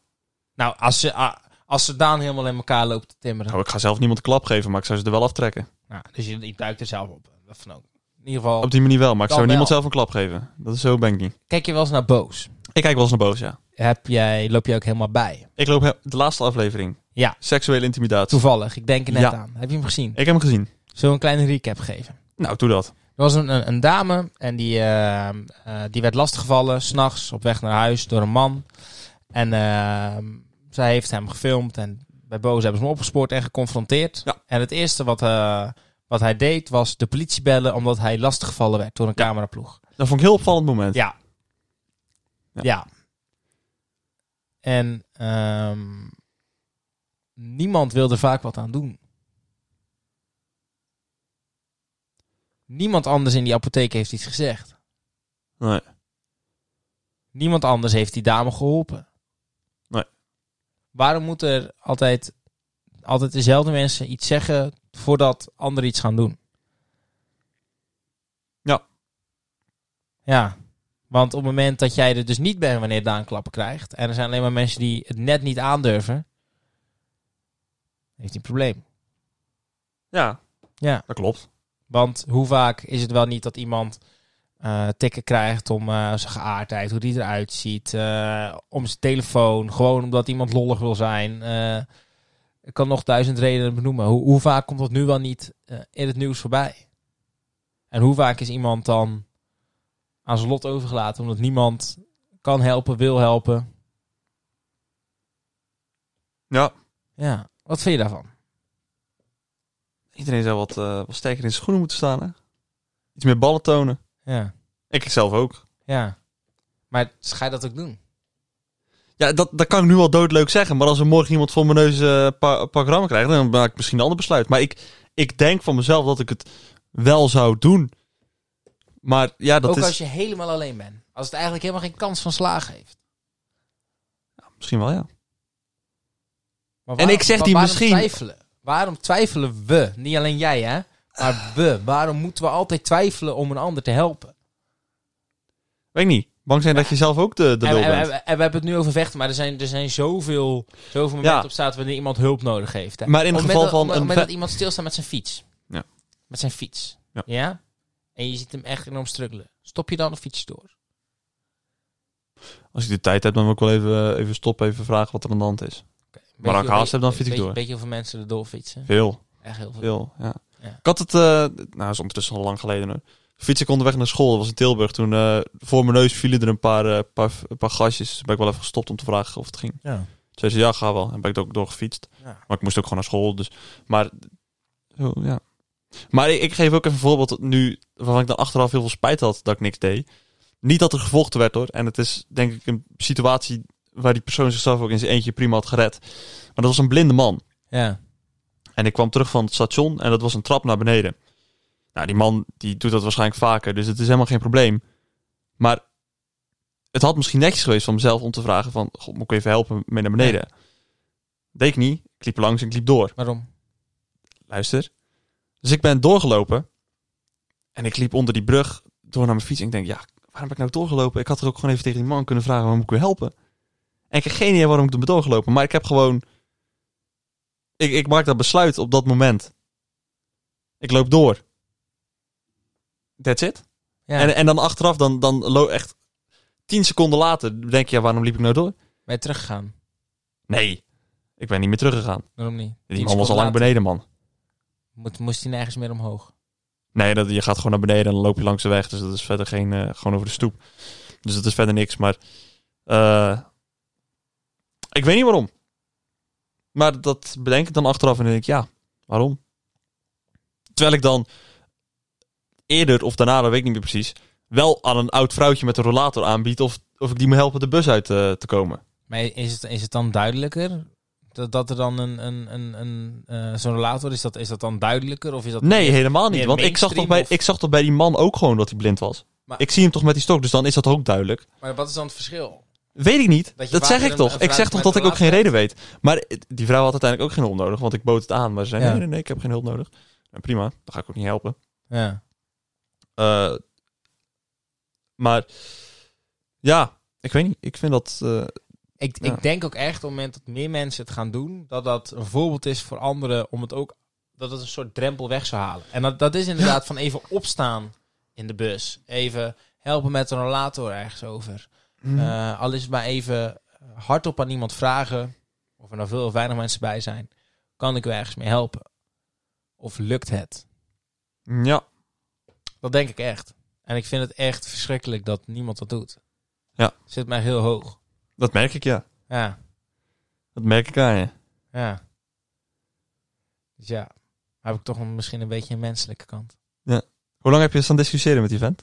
[SPEAKER 2] Nou, als ze, ah, als ze Daan helemaal in elkaar loopt te timmeren.
[SPEAKER 1] Nou, ik ga zelf niemand een klap geven, maar ik zou ze er wel aftrekken.
[SPEAKER 2] Nou, dus je, je duikt er zelf op. Wat van ook. In ieder geval,
[SPEAKER 1] Op die manier wel, maar ik
[SPEAKER 2] Dan
[SPEAKER 1] zou niemand
[SPEAKER 2] wel.
[SPEAKER 1] zelf een klap geven. Dat is zo ben ik niet.
[SPEAKER 2] kijk je wel eens naar Boos.
[SPEAKER 1] Ik kijk wel eens naar boos, ja.
[SPEAKER 2] Heb jij, loop je ook helemaal bij?
[SPEAKER 1] Ik loop he- de laatste aflevering.
[SPEAKER 2] Ja.
[SPEAKER 1] Seksuele intimidatie.
[SPEAKER 2] Toevallig, ik denk er net
[SPEAKER 1] Ja.
[SPEAKER 2] aan. Heb je hem gezien?
[SPEAKER 1] Ik heb hem gezien.
[SPEAKER 2] Zullen we een kleine recap geven?
[SPEAKER 1] Nou, doe dat.
[SPEAKER 2] Er was een, een, een dame en die, ehm, eh, die werd lastiggevallen s'nachts op weg naar huis door een man. En ehm, zij heeft hem gefilmd en bij Boos hebben ze hem opgespoord en geconfronteerd.
[SPEAKER 1] Ja.
[SPEAKER 2] En het eerste wat, eh, wat hij deed was de politie bellen omdat hij lastiggevallen werd door een
[SPEAKER 1] Ja.
[SPEAKER 2] cameraploeg.
[SPEAKER 1] Dat vond ik een heel opvallend moment.
[SPEAKER 2] Ja.
[SPEAKER 1] Ja.
[SPEAKER 2] Ja. En ehm, niemand wil er vaak wat aan doen. Niemand anders in die apotheek heeft iets gezegd.
[SPEAKER 1] Nee.
[SPEAKER 2] Niemand anders heeft die dame geholpen.
[SPEAKER 1] Nee.
[SPEAKER 2] Waarom moeten er altijd, altijd dezelfde mensen iets zeggen voordat anderen iets gaan doen?
[SPEAKER 1] Ja.
[SPEAKER 2] Ja. Want op het moment dat jij er dus niet bent wanneer Daan klappen krijgt... en er zijn alleen maar mensen die het net niet aandurven... heeft hij een probleem.
[SPEAKER 1] Ja.
[SPEAKER 2] Ja.
[SPEAKER 1] Dat klopt.
[SPEAKER 2] Want hoe vaak is het wel niet dat iemand eh, tikken krijgt om eh, zijn geaardheid... hoe die eruit ziet, eh, om zijn telefoon... gewoon omdat iemand lollig wil zijn. eh ik kan nog duizend redenen benoemen. Hoe, hoe vaak komt dat nu wel niet eh, in het nieuws voorbij? En hoe vaak is iemand dan aan zijn lot overgelaten... omdat niemand kan helpen, wil helpen...
[SPEAKER 1] Ja.
[SPEAKER 2] Ja, wat vind je daarvan?
[SPEAKER 1] Iedereen zou wat, eh, wat sterker in zijn schoenen moeten staan, hè? Iets meer ballen tonen.
[SPEAKER 2] Ja,
[SPEAKER 1] Ik zelf ook.
[SPEAKER 2] ja. Maar ga je dat ook doen?
[SPEAKER 1] Ja, dat, dat kan ik nu al doodleuk zeggen. Maar als er morgen iemand voor mijn neus eh, een paar, een paar grammen krijgt... dan maak ik misschien een ander besluit. Maar ik, ik denk van mezelf dat ik het wel zou doen. Maar ja, dat
[SPEAKER 2] ook
[SPEAKER 1] is...
[SPEAKER 2] als je helemaal alleen bent. Als het eigenlijk helemaal geen kans van slagen heeft.
[SPEAKER 1] Misschien wel, ja.
[SPEAKER 2] Maar
[SPEAKER 1] En ik zeg
[SPEAKER 2] wa-
[SPEAKER 1] die
[SPEAKER 2] waarom
[SPEAKER 1] misschien-
[SPEAKER 2] Twijfelen? Waarom twijfelen we? Niet alleen jij, hè? Maar we. Waarom moeten we altijd twijfelen om een ander te helpen?
[SPEAKER 1] Weet ik niet. Bang zijn dat je zelf ook de, de
[SPEAKER 2] en,
[SPEAKER 1] lul
[SPEAKER 2] en-
[SPEAKER 1] bent.
[SPEAKER 2] en- en we hebben het nu over vechten, maar er zijn, er zijn zoveel, zoveel momenten op staat wanneer iemand hulp nodig heeft. Hè?
[SPEAKER 1] Maar in het
[SPEAKER 2] Op het
[SPEAKER 1] geval van
[SPEAKER 2] moment dat- op het
[SPEAKER 1] een
[SPEAKER 2] moment dat
[SPEAKER 1] ve-
[SPEAKER 2] iemand stilstaat met zijn fiets.
[SPEAKER 1] Ja.
[SPEAKER 2] Met zijn fiets.
[SPEAKER 1] Ja.
[SPEAKER 2] En je ziet hem echt enorm struggelen. Stop je dan de fiets door?
[SPEAKER 1] Als ik de tijd heb, dan wil ik wel even, eh, even stoppen. Even vragen wat er aan de hand is. Maar als ik haast heb, dan fiets ik door.
[SPEAKER 2] Een beetje hoeveel mensen er doorfietsen.
[SPEAKER 1] Veel.
[SPEAKER 2] Echt heel veel.
[SPEAKER 1] Veel, ja.
[SPEAKER 2] Ja.
[SPEAKER 1] Ik had het, eh, nou, dat is ondertussen al lang geleden hoor. Fiets ik onderweg naar school, dat was in Tilburg. Toen eh, voor mijn neus vielen er een paar, eh, paar, een paar gastjes. Toen ben ik wel even gestopt om te vragen of het ging.
[SPEAKER 2] Ja.
[SPEAKER 1] Toen zei ze, ja, ga wel. En ben ik ook doorgefietst.
[SPEAKER 2] Ja.
[SPEAKER 1] Maar ik moest ook gewoon naar school, dus... Maar, zo, ja. Maar ik, ik geef ook even een voorbeeld dat nu, waarvan ik dan achteraf heel veel spijt had dat ik niks deed. Niet dat er gevochten werd hoor. En het is denk ik een situatie waar die persoon zichzelf ook in zijn eentje prima had gered. Maar dat was een blinde man.
[SPEAKER 2] Ja.
[SPEAKER 1] En ik kwam terug van het station en dat was een trap naar beneden. Nou, die man die doet dat waarschijnlijk vaker, dus het is helemaal geen probleem. Maar het had misschien netjes geweest van mezelf om te vragen van... God, moet ik even helpen mee naar beneden? Deed ik niet. Ik liep langs en ik liep door.
[SPEAKER 2] Waarom?
[SPEAKER 1] Luister. Dus ik ben doorgelopen. En ik liep onder die brug door naar mijn fiets. En ik denk, ja, waarom ben ik nou doorgelopen? Ik had er ook gewoon even tegen die man kunnen vragen... waarom moet ik u helpen? En ik heb geen idee waarom ik er ben doorgelopen. Maar ik heb gewoon... Ik, ik maak dat besluit op dat moment. Ik loop door. That's it.
[SPEAKER 2] Ja.
[SPEAKER 1] En, en dan achteraf, dan, dan lo- echt tien seconden later, denk je, ja, waarom liep ik nou door?
[SPEAKER 2] Ben je teruggegaan?
[SPEAKER 1] Nee, ik ben niet meer teruggegaan.
[SPEAKER 2] Waarom niet?
[SPEAKER 1] Die man was al lang beneden, man.
[SPEAKER 2] Moet, moest hij nergens meer omhoog?
[SPEAKER 1] Nee, dat, je gaat gewoon naar beneden en dan loop je langs de weg. Dus dat is verder geen, eh, gewoon over de stoep. Dus dat is verder niks. Maar eh, ik weet niet waarom. Maar dat bedenk ik dan achteraf en dan denk ik, ja, waarom? Terwijl ik dan eerder of daarna, dat weet ik niet meer precies, wel aan een oud vrouwtje met een rollator aanbied of, of ik die me helpen de bus uit eh, te komen.
[SPEAKER 2] Maar is het, is het dan duidelijker? Dat, dat er dan een, een, een, een eh, zo'n relator is, dat, is dat dan duidelijker? Of is dat
[SPEAKER 1] Nee, helemaal niet.
[SPEAKER 2] meer
[SPEAKER 1] Want ik zag, toch
[SPEAKER 2] mainstream
[SPEAKER 1] bij,
[SPEAKER 2] of-
[SPEAKER 1] ik zag toch bij die man ook gewoon dat hij blind was.
[SPEAKER 2] Maar-
[SPEAKER 1] Ik zie hem toch met die stok, dus dan is dat ook duidelijk.
[SPEAKER 2] Maar wat is dan het verschil?
[SPEAKER 1] Weet ik niet.
[SPEAKER 2] Dat
[SPEAKER 1] Dat,
[SPEAKER 2] je
[SPEAKER 1] zeg
[SPEAKER 2] vaker
[SPEAKER 1] ik
[SPEAKER 2] een-
[SPEAKER 1] toch.
[SPEAKER 2] een
[SPEAKER 1] Ik zeg
[SPEAKER 2] vrouw
[SPEAKER 1] toch
[SPEAKER 2] met
[SPEAKER 1] dat ik ook
[SPEAKER 2] een
[SPEAKER 1] geen reden weet. Maar het- die vrouw had uiteindelijk ook geen hulp nodig, want ik bood het aan. Maar ze zei,
[SPEAKER 2] Ja.
[SPEAKER 1] nee, nee, nee, ik heb geen hulp nodig. Nou, prima, dan ga ik ook niet helpen.
[SPEAKER 2] Ja.
[SPEAKER 1] Eh, maar ja, ik weet niet. Ik vind dat... eh,
[SPEAKER 2] Ik,
[SPEAKER 1] Ja.
[SPEAKER 2] ik denk ook echt op het moment dat meer mensen het gaan doen, dat dat een voorbeeld is voor anderen om het ook, dat het een soort drempel weg zou halen. En dat, dat is inderdaad van even opstaan in de bus, even helpen met een rollator ergens over.
[SPEAKER 1] Mhm.
[SPEAKER 2] Eh, al is het maar even hardop aan iemand vragen, of er nou veel of weinig mensen bij zijn, kan ik u ergens mee helpen? Of lukt het?
[SPEAKER 1] ja,
[SPEAKER 2] Dat denk ik echt. En ik vind het echt verschrikkelijk dat niemand dat doet.
[SPEAKER 1] Ja.
[SPEAKER 2] Zit mij heel hoog.
[SPEAKER 1] dat merk ik, ja.
[SPEAKER 2] Ja,
[SPEAKER 1] Dat merk ik aan je.
[SPEAKER 2] ja. Dus ja, heb ik toch een- misschien een beetje een menselijke kant.
[SPEAKER 1] Hoe lang heb je staan discussiëren met die vent?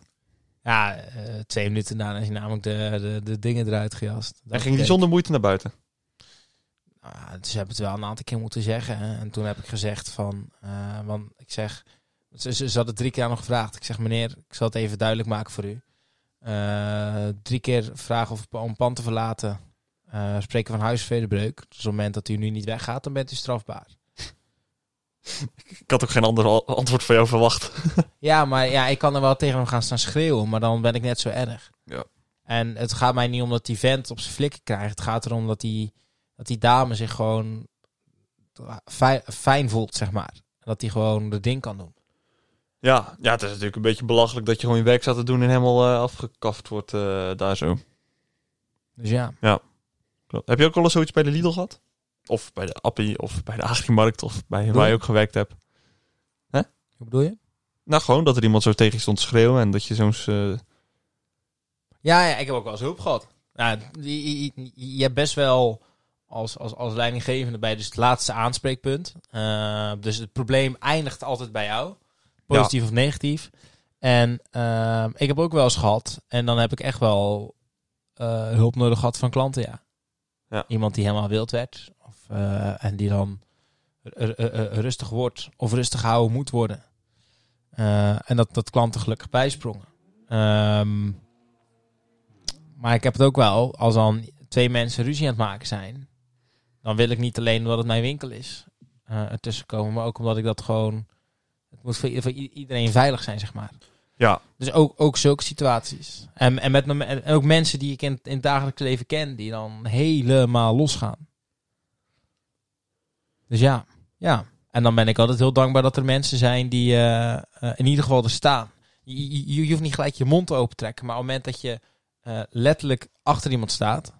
[SPEAKER 2] Ja, eh, twee minuten daarna is hij namelijk de, de, de dingen eruit gejast.
[SPEAKER 1] En ging die zonder moeite naar buiten?
[SPEAKER 2] Ah, dus ze hebben het wel een aantal keer moeten zeggen. Hè. En toen heb ik gezegd van, eh, want ik zeg, ze, ze, ze had het drie keer aan me gevraagd. Ik zeg, meneer, ik zal het even duidelijk maken voor u. Eh, drie keer vragen of, om pand te verlaten. Eh, spreken van huisvredebreuk. Dus op het moment dat u nu niet weggaat, dan bent u strafbaar.
[SPEAKER 1] Ik had ook geen ander al- antwoord van jou verwacht.
[SPEAKER 2] Ja, maar ja, ik kan er wel tegen hem gaan staan schreeuwen, maar dan ben ik net zo erg.
[SPEAKER 1] Ja.
[SPEAKER 2] En het gaat mij niet om dat die vent op zijn flikken krijgt. Het gaat erom dat die, dat die dame zich gewoon fi- fijn voelt, zeg maar. Dat die gewoon de ding kan doen.
[SPEAKER 1] Ja, ja, het is natuurlijk een beetje belachelijk dat je gewoon je werk staat te doen en helemaal eh, afgekaft wordt eh, daar zo.
[SPEAKER 2] Dus ja.
[SPEAKER 1] Klopt. Heb je ook al eens zoiets bij de Lidl gehad? Of bij de Appie, of bij de Agrimarkt, of bij waar je ook gewerkt hebt?
[SPEAKER 2] Hoe bedoel je?
[SPEAKER 1] Nou, gewoon dat er iemand zo tegen je stond te schreeuwen en dat je zo'n... eh,
[SPEAKER 2] Ja, ja ik heb ook wel eens hulp gehad. Nou, je, je- je- je hebt best wel als, als, als leidinggevende bij dus het laatste aanspreekpunt. Eh, dus het probleem eindigt altijd bij jou. Positief of negatief. En ehm, ik heb ook wel eens gehad. En dan heb ik echt wel eh, hulp nodig gehad van klanten, ja.
[SPEAKER 1] Ja.
[SPEAKER 2] Iemand die helemaal wild werd. Of, eh, en die dan r- r- r- rustig wordt of rustig houden moet worden. Eh, en dat, dat klanten gelukkig bijsprongen. Ehm, maar ik heb het ook wel, als dan twee mensen ruzie aan het maken zijn, dan wil ik niet alleen omdat het mijn winkel is eh ertussen komen, maar ook omdat ik dat gewoon. Het moet voor, i- voor i- iedereen veilig zijn, zeg maar.
[SPEAKER 1] Ja.
[SPEAKER 2] Dus ook, ook zulke situaties. En, en, met, me- en ook mensen die ik in, in het dagelijks leven ken, die dan helemaal losgaan. Dus ja, ja. En dan ben ik altijd heel dankbaar dat er mensen zijn die eh, eh, in ieder geval er staan. Je, je- je, je hoeft niet gelijk je mond open te trekken, maar op het moment dat je eh, letterlijk achter iemand staat,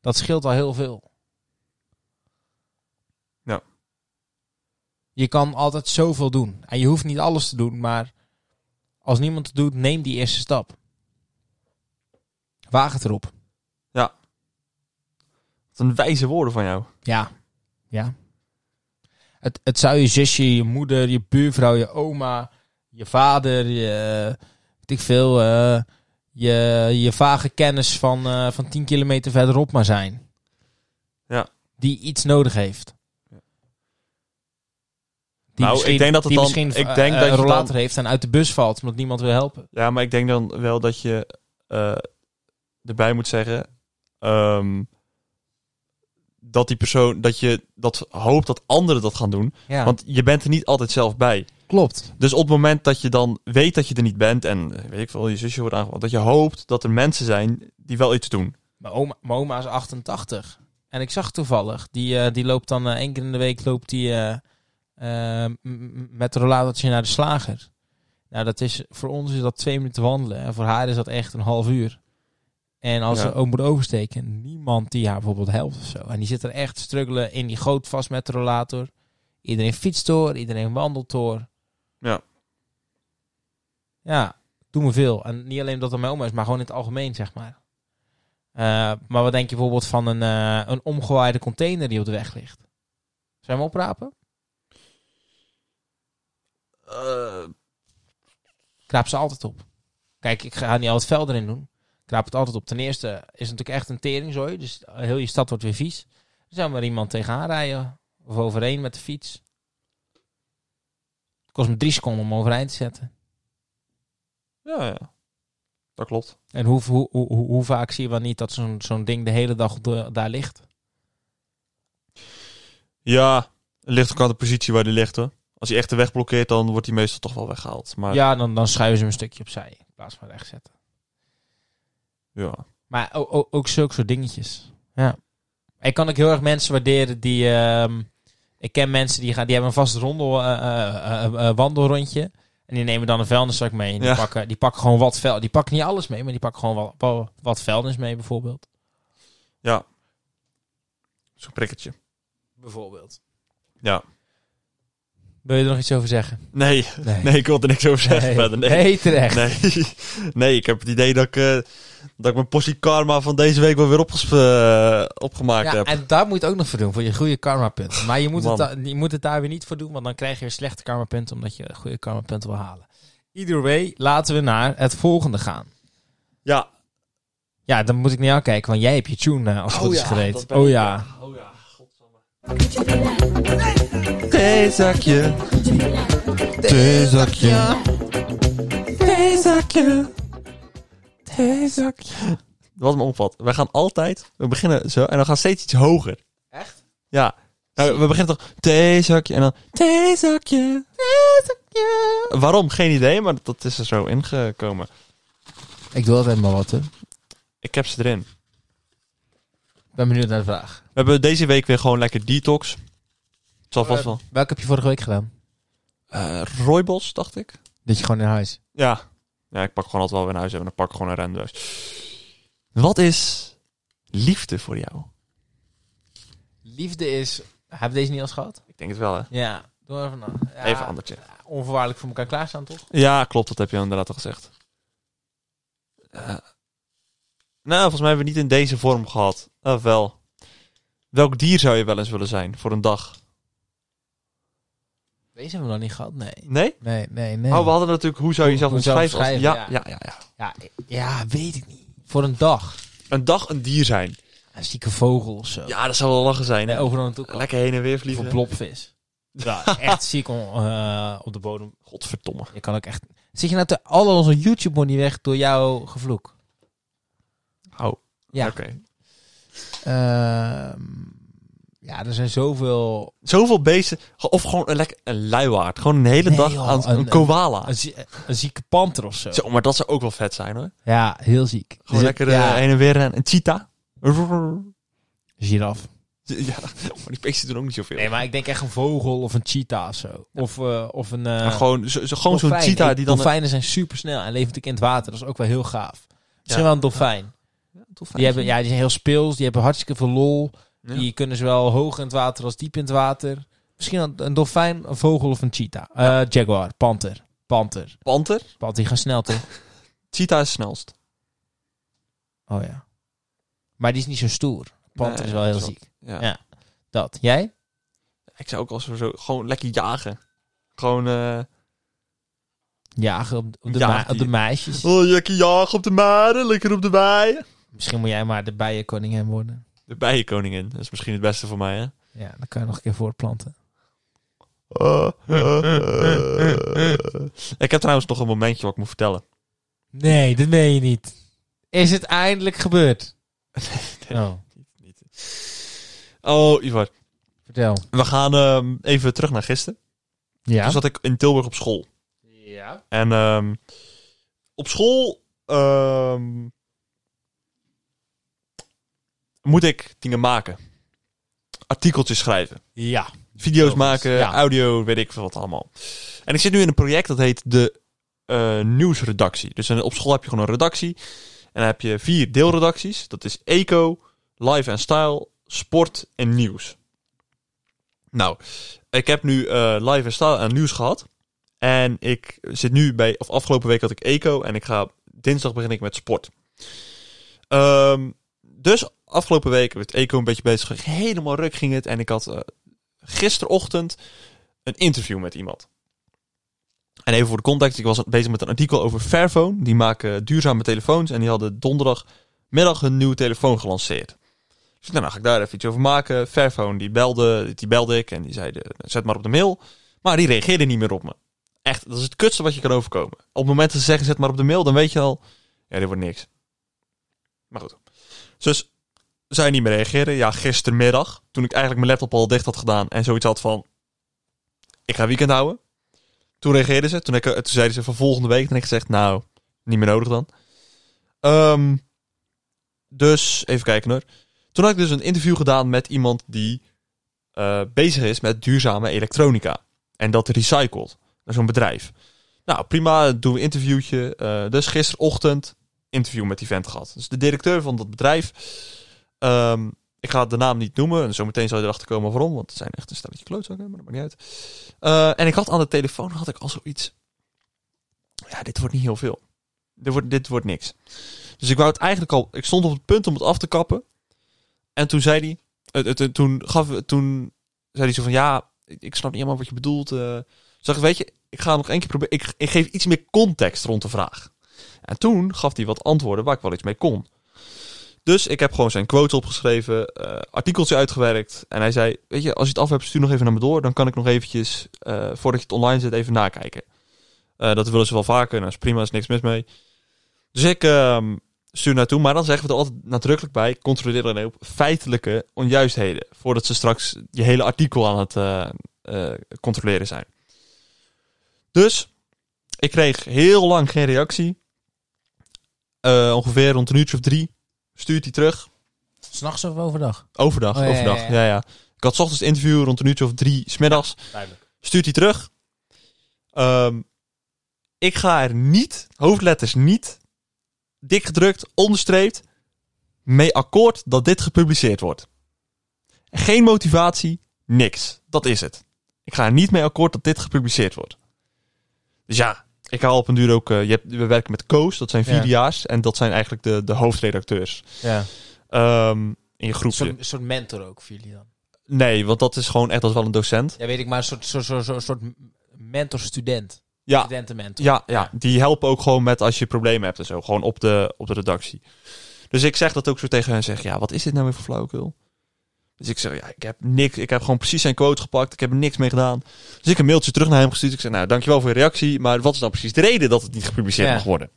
[SPEAKER 2] dat scheelt al heel veel.
[SPEAKER 1] Ja.
[SPEAKER 2] Je kan altijd zoveel doen. En je hoeft niet alles te doen, maar als niemand het doet, neem die eerste stap. Waag het erop.
[SPEAKER 1] wat een wijze woorden van jou.
[SPEAKER 2] Ja. Ja. Het, het zou je zusje, je moeder, je buurvrouw, je oma, je vader, je, weet ik veel, eh, je, je vage kennis van, eh, van 10 kilometer verderop maar zijn.
[SPEAKER 1] Ja.
[SPEAKER 2] Die iets nodig heeft.
[SPEAKER 1] Ja.
[SPEAKER 2] Die
[SPEAKER 1] Nou,
[SPEAKER 2] misschien-
[SPEAKER 1] ik denk dat het
[SPEAKER 2] die
[SPEAKER 1] dan-
[SPEAKER 2] misschien
[SPEAKER 1] ik
[SPEAKER 2] eh,
[SPEAKER 1] denk
[SPEAKER 2] eh,
[SPEAKER 1] dat je
[SPEAKER 2] een
[SPEAKER 1] dan-
[SPEAKER 2] rollator heeft en uit de bus valt omdat niemand wil helpen.
[SPEAKER 1] Ja, maar ik denk dan wel dat je eh, erbij moet zeggen... ehm, dat die persoon, dat je dat hoopt dat anderen dat gaan doen.
[SPEAKER 2] Ja,
[SPEAKER 1] Want je bent er niet altijd zelf bij.
[SPEAKER 2] klopt.
[SPEAKER 1] Dus op het moment dat je dan weet dat je er niet bent en eh, weet ik veel, je zusje wordt aangevallen, dat je hoopt dat er mensen zijn die wel iets doen.
[SPEAKER 2] Mijn oma, mijn oma is 88. En ik zag toevallig, die, eh, die loopt dan eh, één keer in de week loopt die, eh, eh, ehm, m- m- met een rollatortje naar de slager. Nou, dat is, voor ons is dat twee minuten wandelen. En voor haar is dat echt een half uur. En als
[SPEAKER 1] Ja.
[SPEAKER 2] ze ook moet oversteken, niemand die haar bijvoorbeeld helpt of zo. En die zit er echt te struggelen in die goot vast met de rollator. Iedereen fietst door, iedereen wandelt door.
[SPEAKER 1] Ja.
[SPEAKER 2] Ja, doe me veel. En niet alleen dat het mijn oma is, maar gewoon in het algemeen, zeg maar. Eh, maar wat denk je bijvoorbeeld van een, eh, een omgewaaide container die op de weg ligt? Zijn we oprapen?
[SPEAKER 1] Eh,
[SPEAKER 2] Kraap ze altijd op. Kijk, ik ga niet al het vuil erin doen. Kraap het altijd op. Ten eerste is het natuurlijk echt een teringzooi. Dus heel je stad wordt weer vies. Dan zou maar iemand tegenaan rijden. Of overheen met de fiets. Het kost me drie seconden om overeind te zetten.
[SPEAKER 1] ja, ja. Dat klopt.
[SPEAKER 2] En hoe, hoe, hoe, hoe- hoe vaak zie je wel niet dat zo'n zo'n ding de hele dag op de- daar ligt?
[SPEAKER 1] Ja, het ligt ook aan de positie waar die ligt hoor. Als hij echt de weg blokkeert, dan wordt hij meestal toch wel weggehaald. Maar ja,
[SPEAKER 2] Ja, dan, dan schuiven ze hem een stukje opzij. In plaats van rechtzetten. Maar ook, ook, zulke soort dingetjes. Ja. Ik kan ook heel erg mensen waarderen die... ehm, ik ken mensen die, gaan, die hebben een vast rondel, eh, eh, eh, eh, wandelrondje. En die nemen dan een vuilniszak mee. En die,
[SPEAKER 1] Ja.
[SPEAKER 2] pakken, die pakken gewoon wat vuil. Die pakken niet alles mee, maar die pakken gewoon wat, wat, wat vuilnis mee bijvoorbeeld.
[SPEAKER 1] zo'n prikkertje.
[SPEAKER 2] Bijvoorbeeld.
[SPEAKER 1] Ja.
[SPEAKER 2] Wil je er nog iets over zeggen?
[SPEAKER 1] Nee,
[SPEAKER 2] Nee.
[SPEAKER 1] nee, ik wil er niks over zeggen verder. Nee.
[SPEAKER 2] Nee, terecht.
[SPEAKER 1] Nee. nee, ik heb het idee dat ik, eh, dat ik mijn portie karma van deze week wel weer opges- eh, opgemaakt
[SPEAKER 2] Ja,
[SPEAKER 1] heb.
[SPEAKER 2] en daar moet je het ook nog voor doen, voor je goede karmapunten. Maar je moet, het,
[SPEAKER 1] Man.
[SPEAKER 2] da- je moet het daar weer niet voor doen, want dan krijg je weer slechte karmapunten omdat je goede karmapunten wil halen. Either way, laten we naar het volgende gaan.
[SPEAKER 1] Ja.
[SPEAKER 2] Ja, dan moet ik naar jou kijken, want jij hebt je tune eh, als het goed is gereed. Oh ja.
[SPEAKER 1] Oh ja.
[SPEAKER 3] theezakje.
[SPEAKER 1] Wat me opvalt. Wij gaan altijd, we beginnen zo en dan gaan we steeds iets hoger.
[SPEAKER 2] Echt?
[SPEAKER 1] Ja. Nou, we beginnen toch theezakje en dan theezakje, theezakje. Waarom? Geen idee, maar dat is er zo ingekomen.
[SPEAKER 2] Ik doe altijd maar wat, hè.
[SPEAKER 1] Ik heb ze erin.
[SPEAKER 2] Ik ben benieuwd naar de vraag.
[SPEAKER 1] We hebben deze week weer gewoon lekker detox. Het zal vast
[SPEAKER 2] Eh,
[SPEAKER 1] wel.
[SPEAKER 2] Welke heb je vorige week gedaan?
[SPEAKER 1] Eh rooibos, dacht ik.
[SPEAKER 2] Dat je gewoon in huis.
[SPEAKER 1] Ja. Ja, ik pak gewoon altijd wel weer naar huis en dan pak ik gewoon een rendoos. Wat is liefde voor jou?
[SPEAKER 2] Liefde is... Hebben we deze niet als gehad?
[SPEAKER 1] Ik denk het wel, hè?
[SPEAKER 2] Ja. Doe maar even na. Ja,
[SPEAKER 1] Even andertje.
[SPEAKER 2] Onvoorwaardelijk voor elkaar klaarstaan, toch?
[SPEAKER 1] Ja, klopt. Dat heb je inderdaad al gezegd. Eh, nou, volgens mij hebben we het niet in deze vorm gehad. Of wel. Welk dier zou je wel eens willen zijn voor een dag?
[SPEAKER 2] Deze hebben we nog niet gehad, nee.
[SPEAKER 1] Nee?
[SPEAKER 2] Nee, nee, nee.
[SPEAKER 1] Oh, we hadden natuurlijk hoe zou je jezelf
[SPEAKER 2] hoe zou je
[SPEAKER 1] omschrijven? als- ja,
[SPEAKER 2] omschrijven,
[SPEAKER 1] ja. Ja, ja,
[SPEAKER 2] Ja, ja, weet ik niet. Voor een dag.
[SPEAKER 1] Een dag een dier zijn.
[SPEAKER 2] Een zieke vogel of zo.
[SPEAKER 1] Ja, dat zou wel lachen zijn.
[SPEAKER 2] Nee,
[SPEAKER 1] hè?
[SPEAKER 2] overal naartoe komen.
[SPEAKER 1] Lekker heen en weer
[SPEAKER 2] Of een
[SPEAKER 1] vliegen.
[SPEAKER 2] blobvis. Ja, echt ziek om, eh, op de bodem.
[SPEAKER 1] Godverdomme.
[SPEAKER 2] Je kan ook echt... Zit je nou te alle onze YouTube niet weg door jouw gevloek?
[SPEAKER 1] Oh,
[SPEAKER 2] Ja.
[SPEAKER 1] oké.
[SPEAKER 2] Ehm, ja, er zijn zoveel...
[SPEAKER 1] Zoveel beesten. ge- Of gewoon een, lekker, een luiaard. Gewoon een hele
[SPEAKER 2] Nee,
[SPEAKER 1] dag
[SPEAKER 2] joh,
[SPEAKER 1] aan
[SPEAKER 2] een-
[SPEAKER 1] een, koala.
[SPEAKER 2] Een, zie- een zieke panter of zo.
[SPEAKER 1] Zo, maar dat zou ook wel vet zijn hoor.
[SPEAKER 2] Ja, heel ziek.
[SPEAKER 1] Gewoon
[SPEAKER 2] Zit-
[SPEAKER 1] lekker eh,
[SPEAKER 2] ja,
[SPEAKER 1] heen en weer rennen. Een cheetah.
[SPEAKER 2] giraf.
[SPEAKER 1] <laughs> Ja, maar die beesten doen ook niet zoveel.
[SPEAKER 2] Dus Nee, maar ik denk echt een vogel of een cheetah of zo. Of, eh, of een... eh,
[SPEAKER 1] Maar gewoon zo, zo- gewoon zo'n
[SPEAKER 2] dolfijn.
[SPEAKER 1] cheetah
[SPEAKER 2] Ik-
[SPEAKER 1] die dan...
[SPEAKER 2] Dolfijnen zijn supersnel en leven natuurlijk in het water. Dat is ook wel heel gaaf. Misschien wel een dolfijn. Die, hebben, ja, die zijn heel speels, die hebben hartstikke veel lol.
[SPEAKER 1] Ja.
[SPEAKER 2] Die kunnen zowel hoog in het water als diep in het water. Misschien een, een dolfijn, een vogel of een cheetah. Eh, jaguar, panter, panter.
[SPEAKER 1] Panter.
[SPEAKER 2] Want die gaan snel toch?
[SPEAKER 1] Cheetah is snelst.
[SPEAKER 2] Oh ja. Maar die is niet zo stoer. Panter
[SPEAKER 1] Nee,
[SPEAKER 2] is wel
[SPEAKER 1] dat
[SPEAKER 2] heel
[SPEAKER 1] is wel-
[SPEAKER 2] ziek.
[SPEAKER 1] Ja.
[SPEAKER 2] Ja. Dat. Jij?
[SPEAKER 1] Ik zou ook al zo, zo gewoon lekker jagen. Gewoon... eh,
[SPEAKER 2] Jagen op, op de,
[SPEAKER 1] Ja,
[SPEAKER 2] ma- op de
[SPEAKER 1] die-
[SPEAKER 2] meisjes.
[SPEAKER 1] Oh, lekker jagen op de maren, lekker op de bijen.
[SPEAKER 2] Misschien moet jij maar de bijenkoningin worden.
[SPEAKER 1] De bijenkoningin. Dat is misschien het beste voor mij, <laughs> hè?
[SPEAKER 2] Ja, dan kan je nog een keer voortplanten.
[SPEAKER 1] Ik heb trouwens nog een momentje wat ik moet vertellen.
[SPEAKER 2] Nee, dat meen je niet. Is het eindelijk
[SPEAKER 1] <laughs>
[SPEAKER 2] gebeurd? Oh,
[SPEAKER 1] Oh, Ivar.
[SPEAKER 2] vertel.
[SPEAKER 1] We gaan ehm, even terug naar gisteren.
[SPEAKER 2] Ja.
[SPEAKER 1] Toen zat ik in Tilburg op school.
[SPEAKER 2] Ja.
[SPEAKER 1] En ehm, op school ehm, moet ik dingen maken. Artikeltjes schrijven.
[SPEAKER 2] Ja.
[SPEAKER 1] Video's
[SPEAKER 2] Oh,
[SPEAKER 1] maken,
[SPEAKER 2] ja.
[SPEAKER 1] audio, weet ik veel wat allemaal. En ik zit nu in een project dat heet de eh, nieuwsredactie. Dus een- op school heb je gewoon een redactie. En dan heb je vier deelredacties. Dat is eco, live en style, sport en nieuws. Nou, ik heb nu eh, live en style en nieuws gehad. En ik zit nu bij, of afgelopen week had ik eco en ik ga, dinsdag begin ik met sport. Ehm, dus afgelopen week werd eco een beetje bezig. Ging Helemaal ruk ging het en ik had eh, gisterochtend een interview met iemand. En even voor de context, ik was bezig met een artikel over Fairphone. Die maken duurzame telefoons en die hadden donderdagmiddag hun nieuwe telefoon gelanceerd. Dus ik dacht, nou, ga ik daar even iets over maken. Fairphone, die belde, die belde ik en die zei, eh, zet maar op de mail. Maar die reageerde niet meer op me. Echt, dat is het kutste wat je kan overkomen. Op het moment dat ze zeggen, zet maar op de mail, dan weet je al, ja, dit wordt niks. Maar goed. Dus zij niet meer reageren. Ja, gistermiddag, toen ik eigenlijk mijn laptop al dicht had gedaan en zoiets had van, ik ga weekend houden. Toen reageerden ze. Toen, ik, eh, toen zeiden ze van volgende week. Toen heb ik gezegd, nou, niet meer nodig dan. Ehm, dus, even kijken hoor. Toen had ik dus een interview gedaan met iemand die eh, bezig is met duurzame elektronica. En dat recycelt. Dat is zo'n bedrijf. Nou, prima, doen we een interviewtje. Eh, dus gisterochtend interview met die vent gehad. Dus de directeur van dat bedrijf. Ehm, ik ga de naam niet noemen. En zometeen zal je erachter komen waarom. Want het zijn echt een stelletje klootzakken, maar dat maakt niet uit. Eh, en ik had aan de telefoon had ik al zoiets. Ja, dit wordt niet heel veel. Dit wordt, dit wordt niks. Dus ik wou het eigenlijk al. Ik stond op het punt om het af te kappen. En toen zei hij. het- het- het- toen, gaf, toen zei hij zo van ja, ik, ik snap niet helemaal wat je bedoelt. eh. Toen dacht ik, weet je, ik ga nog één keer proberen. Ik, ik geef iets meer context rond de vraag. En toen gaf hij wat antwoorden waar ik wel iets mee kon. Dus ik heb gewoon zijn quote opgeschreven, eh, artikeltje uitgewerkt. En hij zei, weet je, als je het af hebt, stuur nog even naar me door. Dan kan ik nog eventjes, eh, voordat je het online zet, even nakijken. Eh, dat willen ze wel vaker. Nou, is prima, is niks mis mee. Dus ik ehm, stuur naartoe. Maar dan zeggen we er altijd nadrukkelijk bij, controleer alleen op feitelijke onjuistheden. Voordat ze straks je hele artikel aan het eh, eh, controleren zijn. Dus, ik kreeg heel lang geen reactie. Eh, ongeveer rond een uurtje of drie stuurt hij terug.
[SPEAKER 2] S'nachts of overdag?
[SPEAKER 1] Overdag,
[SPEAKER 2] Oh, ja,
[SPEAKER 1] overdag. Ja
[SPEAKER 2] ja,
[SPEAKER 1] ja.
[SPEAKER 2] ja.
[SPEAKER 1] Ik had 's ochtends het interview rond een uurtje of drie, smiddags.
[SPEAKER 2] Duidelijk.
[SPEAKER 1] Stuurt hij terug. Ehm, ik ga er niet, hoofdletters niet, dik gedrukt, onderstreept, mee akkoord dat dit gepubliceerd wordt. Geen motivatie, niks. Dat is het. Ik ga er niet mee akkoord dat dit gepubliceerd wordt. Dus ja, ik haal op een duur ook... eh, je hebt, we werken met Koos, dat zijn
[SPEAKER 2] Ja.
[SPEAKER 1] vierdejaars. En dat zijn eigenlijk de, de hoofdredacteurs
[SPEAKER 2] Ja.
[SPEAKER 1] ehm, in je
[SPEAKER 2] Een
[SPEAKER 1] groepje.
[SPEAKER 2] soort, een soort mentor ook voor jullie dan.
[SPEAKER 1] Nee, want dat is gewoon echt als wel een docent.
[SPEAKER 2] Ja, weet ik, maar een soort, soort, soort, soort- soort mentor-student.
[SPEAKER 1] Ja,
[SPEAKER 2] Studentenmentor.
[SPEAKER 1] ja, ja, die helpen ook gewoon met als je problemen hebt en zo. Gewoon op de, op de redactie. Dus ik zeg dat ook zo tegen hen. Zeg, ja, wat is dit nou weer voor flauwekul? Dus ik zeg, ja, ik heb niks. Ik heb gewoon precies zijn quote gepakt. Ik heb er niks mee gedaan. Dus ik een mailtje terug naar hem gestuurd. Ik zeg, nou, dankjewel voor je reactie. Maar wat is nou precies de reden dat het niet gepubliceerd
[SPEAKER 2] Ja.
[SPEAKER 1] mag worden?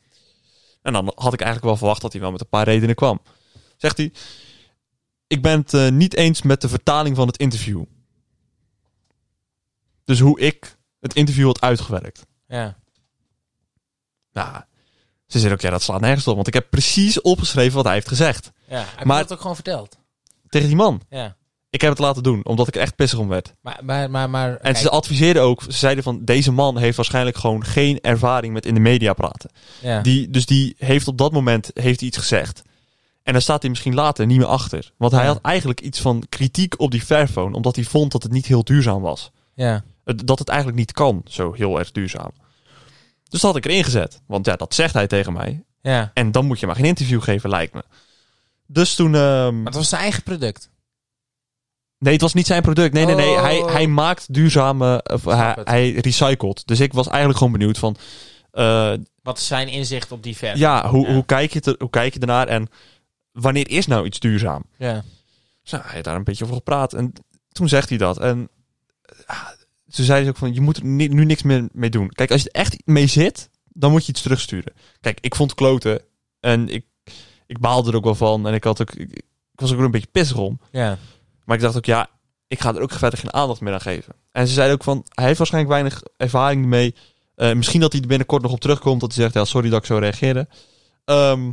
[SPEAKER 1] En dan had ik eigenlijk wel verwacht dat hij wel met een paar redenen kwam. Zegt hij, ik ben het eh, niet eens met de vertaling van het interview. Dus hoe ik het interview had uitgewerkt.
[SPEAKER 2] Ja.
[SPEAKER 1] Nou, ze zei ook, ja, dat slaat nergens op. Want ik heb precies opgeschreven wat hij heeft gezegd.
[SPEAKER 2] ja. Heb
[SPEAKER 1] Maar-
[SPEAKER 2] je dat ook gewoon verteld?
[SPEAKER 1] Tegen die man.
[SPEAKER 2] Ja.
[SPEAKER 1] Ik heb het laten doen, omdat ik er echt pissig om werd.
[SPEAKER 2] Maar, maar, maar, maar
[SPEAKER 1] En ze adviseerden ook, ze zeiden van, deze man heeft waarschijnlijk gewoon geen ervaring met in de media praten.
[SPEAKER 2] ja.
[SPEAKER 1] Die, dus die heeft op dat moment heeft hij iets gezegd. En daar staat hij misschien later niet meer achter. Want hij
[SPEAKER 2] Ja.
[SPEAKER 1] had eigenlijk iets van kritiek op die Fairphone, omdat hij vond dat het niet heel duurzaam was.
[SPEAKER 2] ja.
[SPEAKER 1] Het- Dat het eigenlijk niet kan, zo heel erg duurzaam. Dus dat had ik erin gezet. Want ja, dat zegt hij tegen mij.
[SPEAKER 2] Ja.
[SPEAKER 1] En dan moet je maar geen interview geven, lijkt me. Dus toen... ehm,
[SPEAKER 2] Maar het was zijn eigen product.
[SPEAKER 1] Nee, het was niet zijn product. Nee, nee, nee.
[SPEAKER 2] Oh.
[SPEAKER 1] Hij, hij maakt duurzame... Of, hij,
[SPEAKER 2] het.
[SPEAKER 1] hij recycelt. Dus ik was eigenlijk gewoon benieuwd van... eh,
[SPEAKER 2] Wat is zijn inzicht op die verf?
[SPEAKER 1] ja, hoe,
[SPEAKER 2] Ja.
[SPEAKER 1] Hoe, kijk je te- hoe kijk je ernaar? En wanneer is nou iets duurzaam?
[SPEAKER 2] Ja.
[SPEAKER 1] Dus nou, hij heeft daar een beetje over gepraat. En toen zegt hij dat. En ah, toen zei ze ook van, je moet er ni- nu niks meer mee doen. Kijk, als je er echt mee zit, dan moet je iets terugsturen. Kijk, ik vond het kloten. En ik, ik baalde er ook wel van. En ik, had ook, ik, ik was ook wel een beetje pissig om.
[SPEAKER 2] Ja.
[SPEAKER 1] Maar ik dacht ook, ja, ik ga er ook verder geen aandacht meer aan geven. En ze zeiden ook van, hij heeft waarschijnlijk weinig ervaring mee. Eh, misschien dat hij er binnenkort nog op terugkomt. Dat hij zegt, ja, sorry dat ik zo reageerde. Ehm,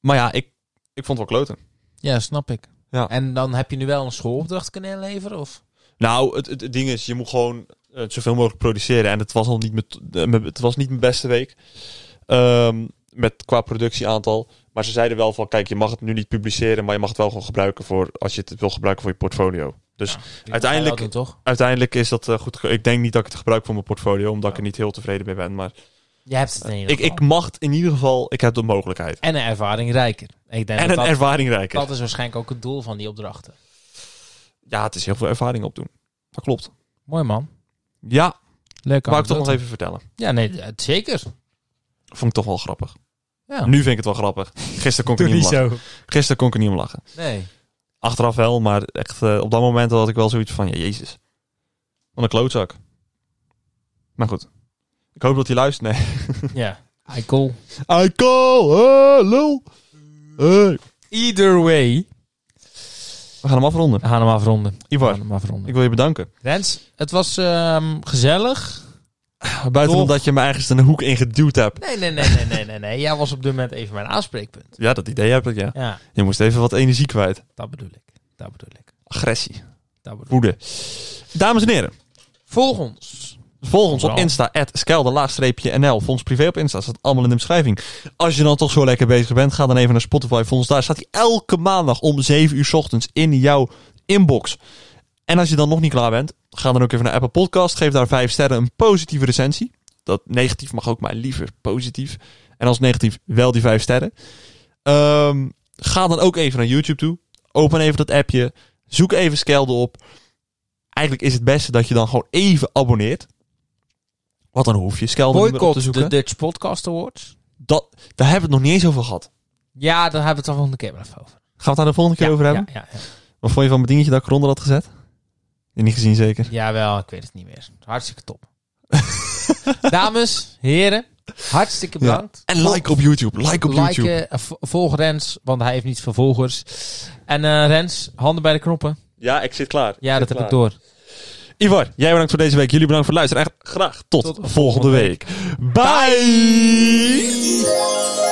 [SPEAKER 1] maar ja, ik, ik vond het wel kloten.
[SPEAKER 2] ja, snap ik.
[SPEAKER 1] Ja.
[SPEAKER 2] En dan heb je nu wel een schoolopdracht kunnen inleveren? Of?
[SPEAKER 1] Nou, het, het, het ding is, je moet gewoon eh, zoveel mogelijk produceren. En het was al niet mijn, t- eh, mijn- het was niet mijn beste week. Ehm, met, qua productieaantal. Maar ze zeiden wel van, kijk, je mag het nu niet publiceren, maar je mag het wel gewoon gebruiken voor, als je het wil gebruiken voor je portfolio. Dus Uiteindelijk-
[SPEAKER 2] Doen, toch?
[SPEAKER 1] uiteindelijk is dat eh, goed. ge- Ik denk niet dat ik het gebruik voor mijn portfolio, omdat ik er niet heel tevreden mee ben. Maar
[SPEAKER 2] Je hebt het in ieder
[SPEAKER 1] ik,
[SPEAKER 2] geval.
[SPEAKER 1] ik mag het in ieder geval, ik heb de mogelijkheid.
[SPEAKER 2] En een ervaring rijker. Ik denk
[SPEAKER 1] En
[SPEAKER 2] dat
[SPEAKER 1] een
[SPEAKER 2] dat,
[SPEAKER 1] ervaring rijker.
[SPEAKER 2] dat is waarschijnlijk ook het doel van die opdrachten.
[SPEAKER 1] Ja, het is heel veel ervaring opdoen. Dat klopt.
[SPEAKER 2] Mooi man.
[SPEAKER 1] Ja,
[SPEAKER 2] Leuk
[SPEAKER 1] wou ik toch nog
[SPEAKER 2] anekdote.
[SPEAKER 1] even vertellen.
[SPEAKER 2] Ja, nee, eh, zeker.
[SPEAKER 1] Vond ik toch wel grappig.
[SPEAKER 2] Ja.
[SPEAKER 1] Nu vind ik het wel grappig. Gisteren kon ik er niet om lachen. Gisteren kon ik er niet om lachen.
[SPEAKER 2] Nee.
[SPEAKER 1] Achteraf wel, maar echt eh, op dat moment had ik wel zoiets van, ja, jezus. Wat een klootzak. Maar goed. Ik hoop dat hij luistert. Nee. <laughs>
[SPEAKER 2] <laughs> Ja. Eikel.
[SPEAKER 1] I call, eh, lul. Hey.
[SPEAKER 2] Either way.
[SPEAKER 1] We gaan hem afronden.
[SPEAKER 2] We gaan hem afronden. We
[SPEAKER 1] Ivar,
[SPEAKER 2] gaan hem afronden.
[SPEAKER 1] ik wil je bedanken.
[SPEAKER 2] Rens, het was ehm, gezellig.
[SPEAKER 1] Buiten
[SPEAKER 2] Toch?
[SPEAKER 1] omdat je me ergens een hoek in geduwd hebt.
[SPEAKER 2] Nee, nee, nee, nee, nee, nee, nee. Jij was op dit moment even mijn aanspreekpunt.
[SPEAKER 1] Ja, dat idee heb ik, ja.
[SPEAKER 2] Ja,
[SPEAKER 1] Je moest even wat energie kwijt.
[SPEAKER 2] dat bedoel ik. Dat bedoel ik.
[SPEAKER 1] Agressie,
[SPEAKER 2] Dat bedoel ik.
[SPEAKER 1] woede. Dames en heren.
[SPEAKER 2] Volg ons.
[SPEAKER 1] Volg ons op
[SPEAKER 2] Vooral.
[SPEAKER 1] Insta, at nl Fonds privé op Insta, staat allemaal in de beschrijving. Als je dan toch zo lekker bezig bent, ga dan even naar Spotify Fonds. Daar staat hij elke maandag om 7 uur 's ochtends in jouw inbox. En als je dan nog niet klaar bent, ga dan ook even naar Apple Podcast. Geef daar 5 sterren een positieve recensie. Dat negatief mag ook, maar liever positief. En als negatief wel die 5 sterren. Ehm, ga dan ook even naar YouTube toe. Open even dat appje. Zoek even Skelde op. Eigenlijk is het beste dat je dan gewoon even abonneert. Wat dan hoef je Skelde niet meer op te
[SPEAKER 2] Boycott de
[SPEAKER 1] zoeken.
[SPEAKER 2] Dutch Podcast Awards.
[SPEAKER 1] Dat, daar hebben we het nog niet eens over gehad.
[SPEAKER 2] Ja, daar hebben we het de volgende keer wel even over.
[SPEAKER 1] Gaan we het daar de volgende keer
[SPEAKER 2] ja,
[SPEAKER 1] over hebben?
[SPEAKER 2] Ja, ja, ja.
[SPEAKER 1] Wat vond je van mijn dingetje dat ik eronder had gezet? Je niet gezien zeker?
[SPEAKER 2] Jawel, ik weet het niet meer. Hartstikke
[SPEAKER 1] <laughs>
[SPEAKER 2] top. Dames, heren, hartstikke bedankt.
[SPEAKER 1] En like op YouTube. Like op YouTube.
[SPEAKER 2] Liken, eh, vo- volg Rens, want hij heeft niet veel volgers. En eh, Rens, handen bij de knoppen.
[SPEAKER 1] Ja, ik zit klaar.
[SPEAKER 2] Ja, dat heb ik door.
[SPEAKER 1] Ivar, jij bedankt voor deze week. Jullie bedankt voor het luisteren. En graag tot,
[SPEAKER 2] Tot
[SPEAKER 1] volgende
[SPEAKER 2] volgende
[SPEAKER 1] week. Bye.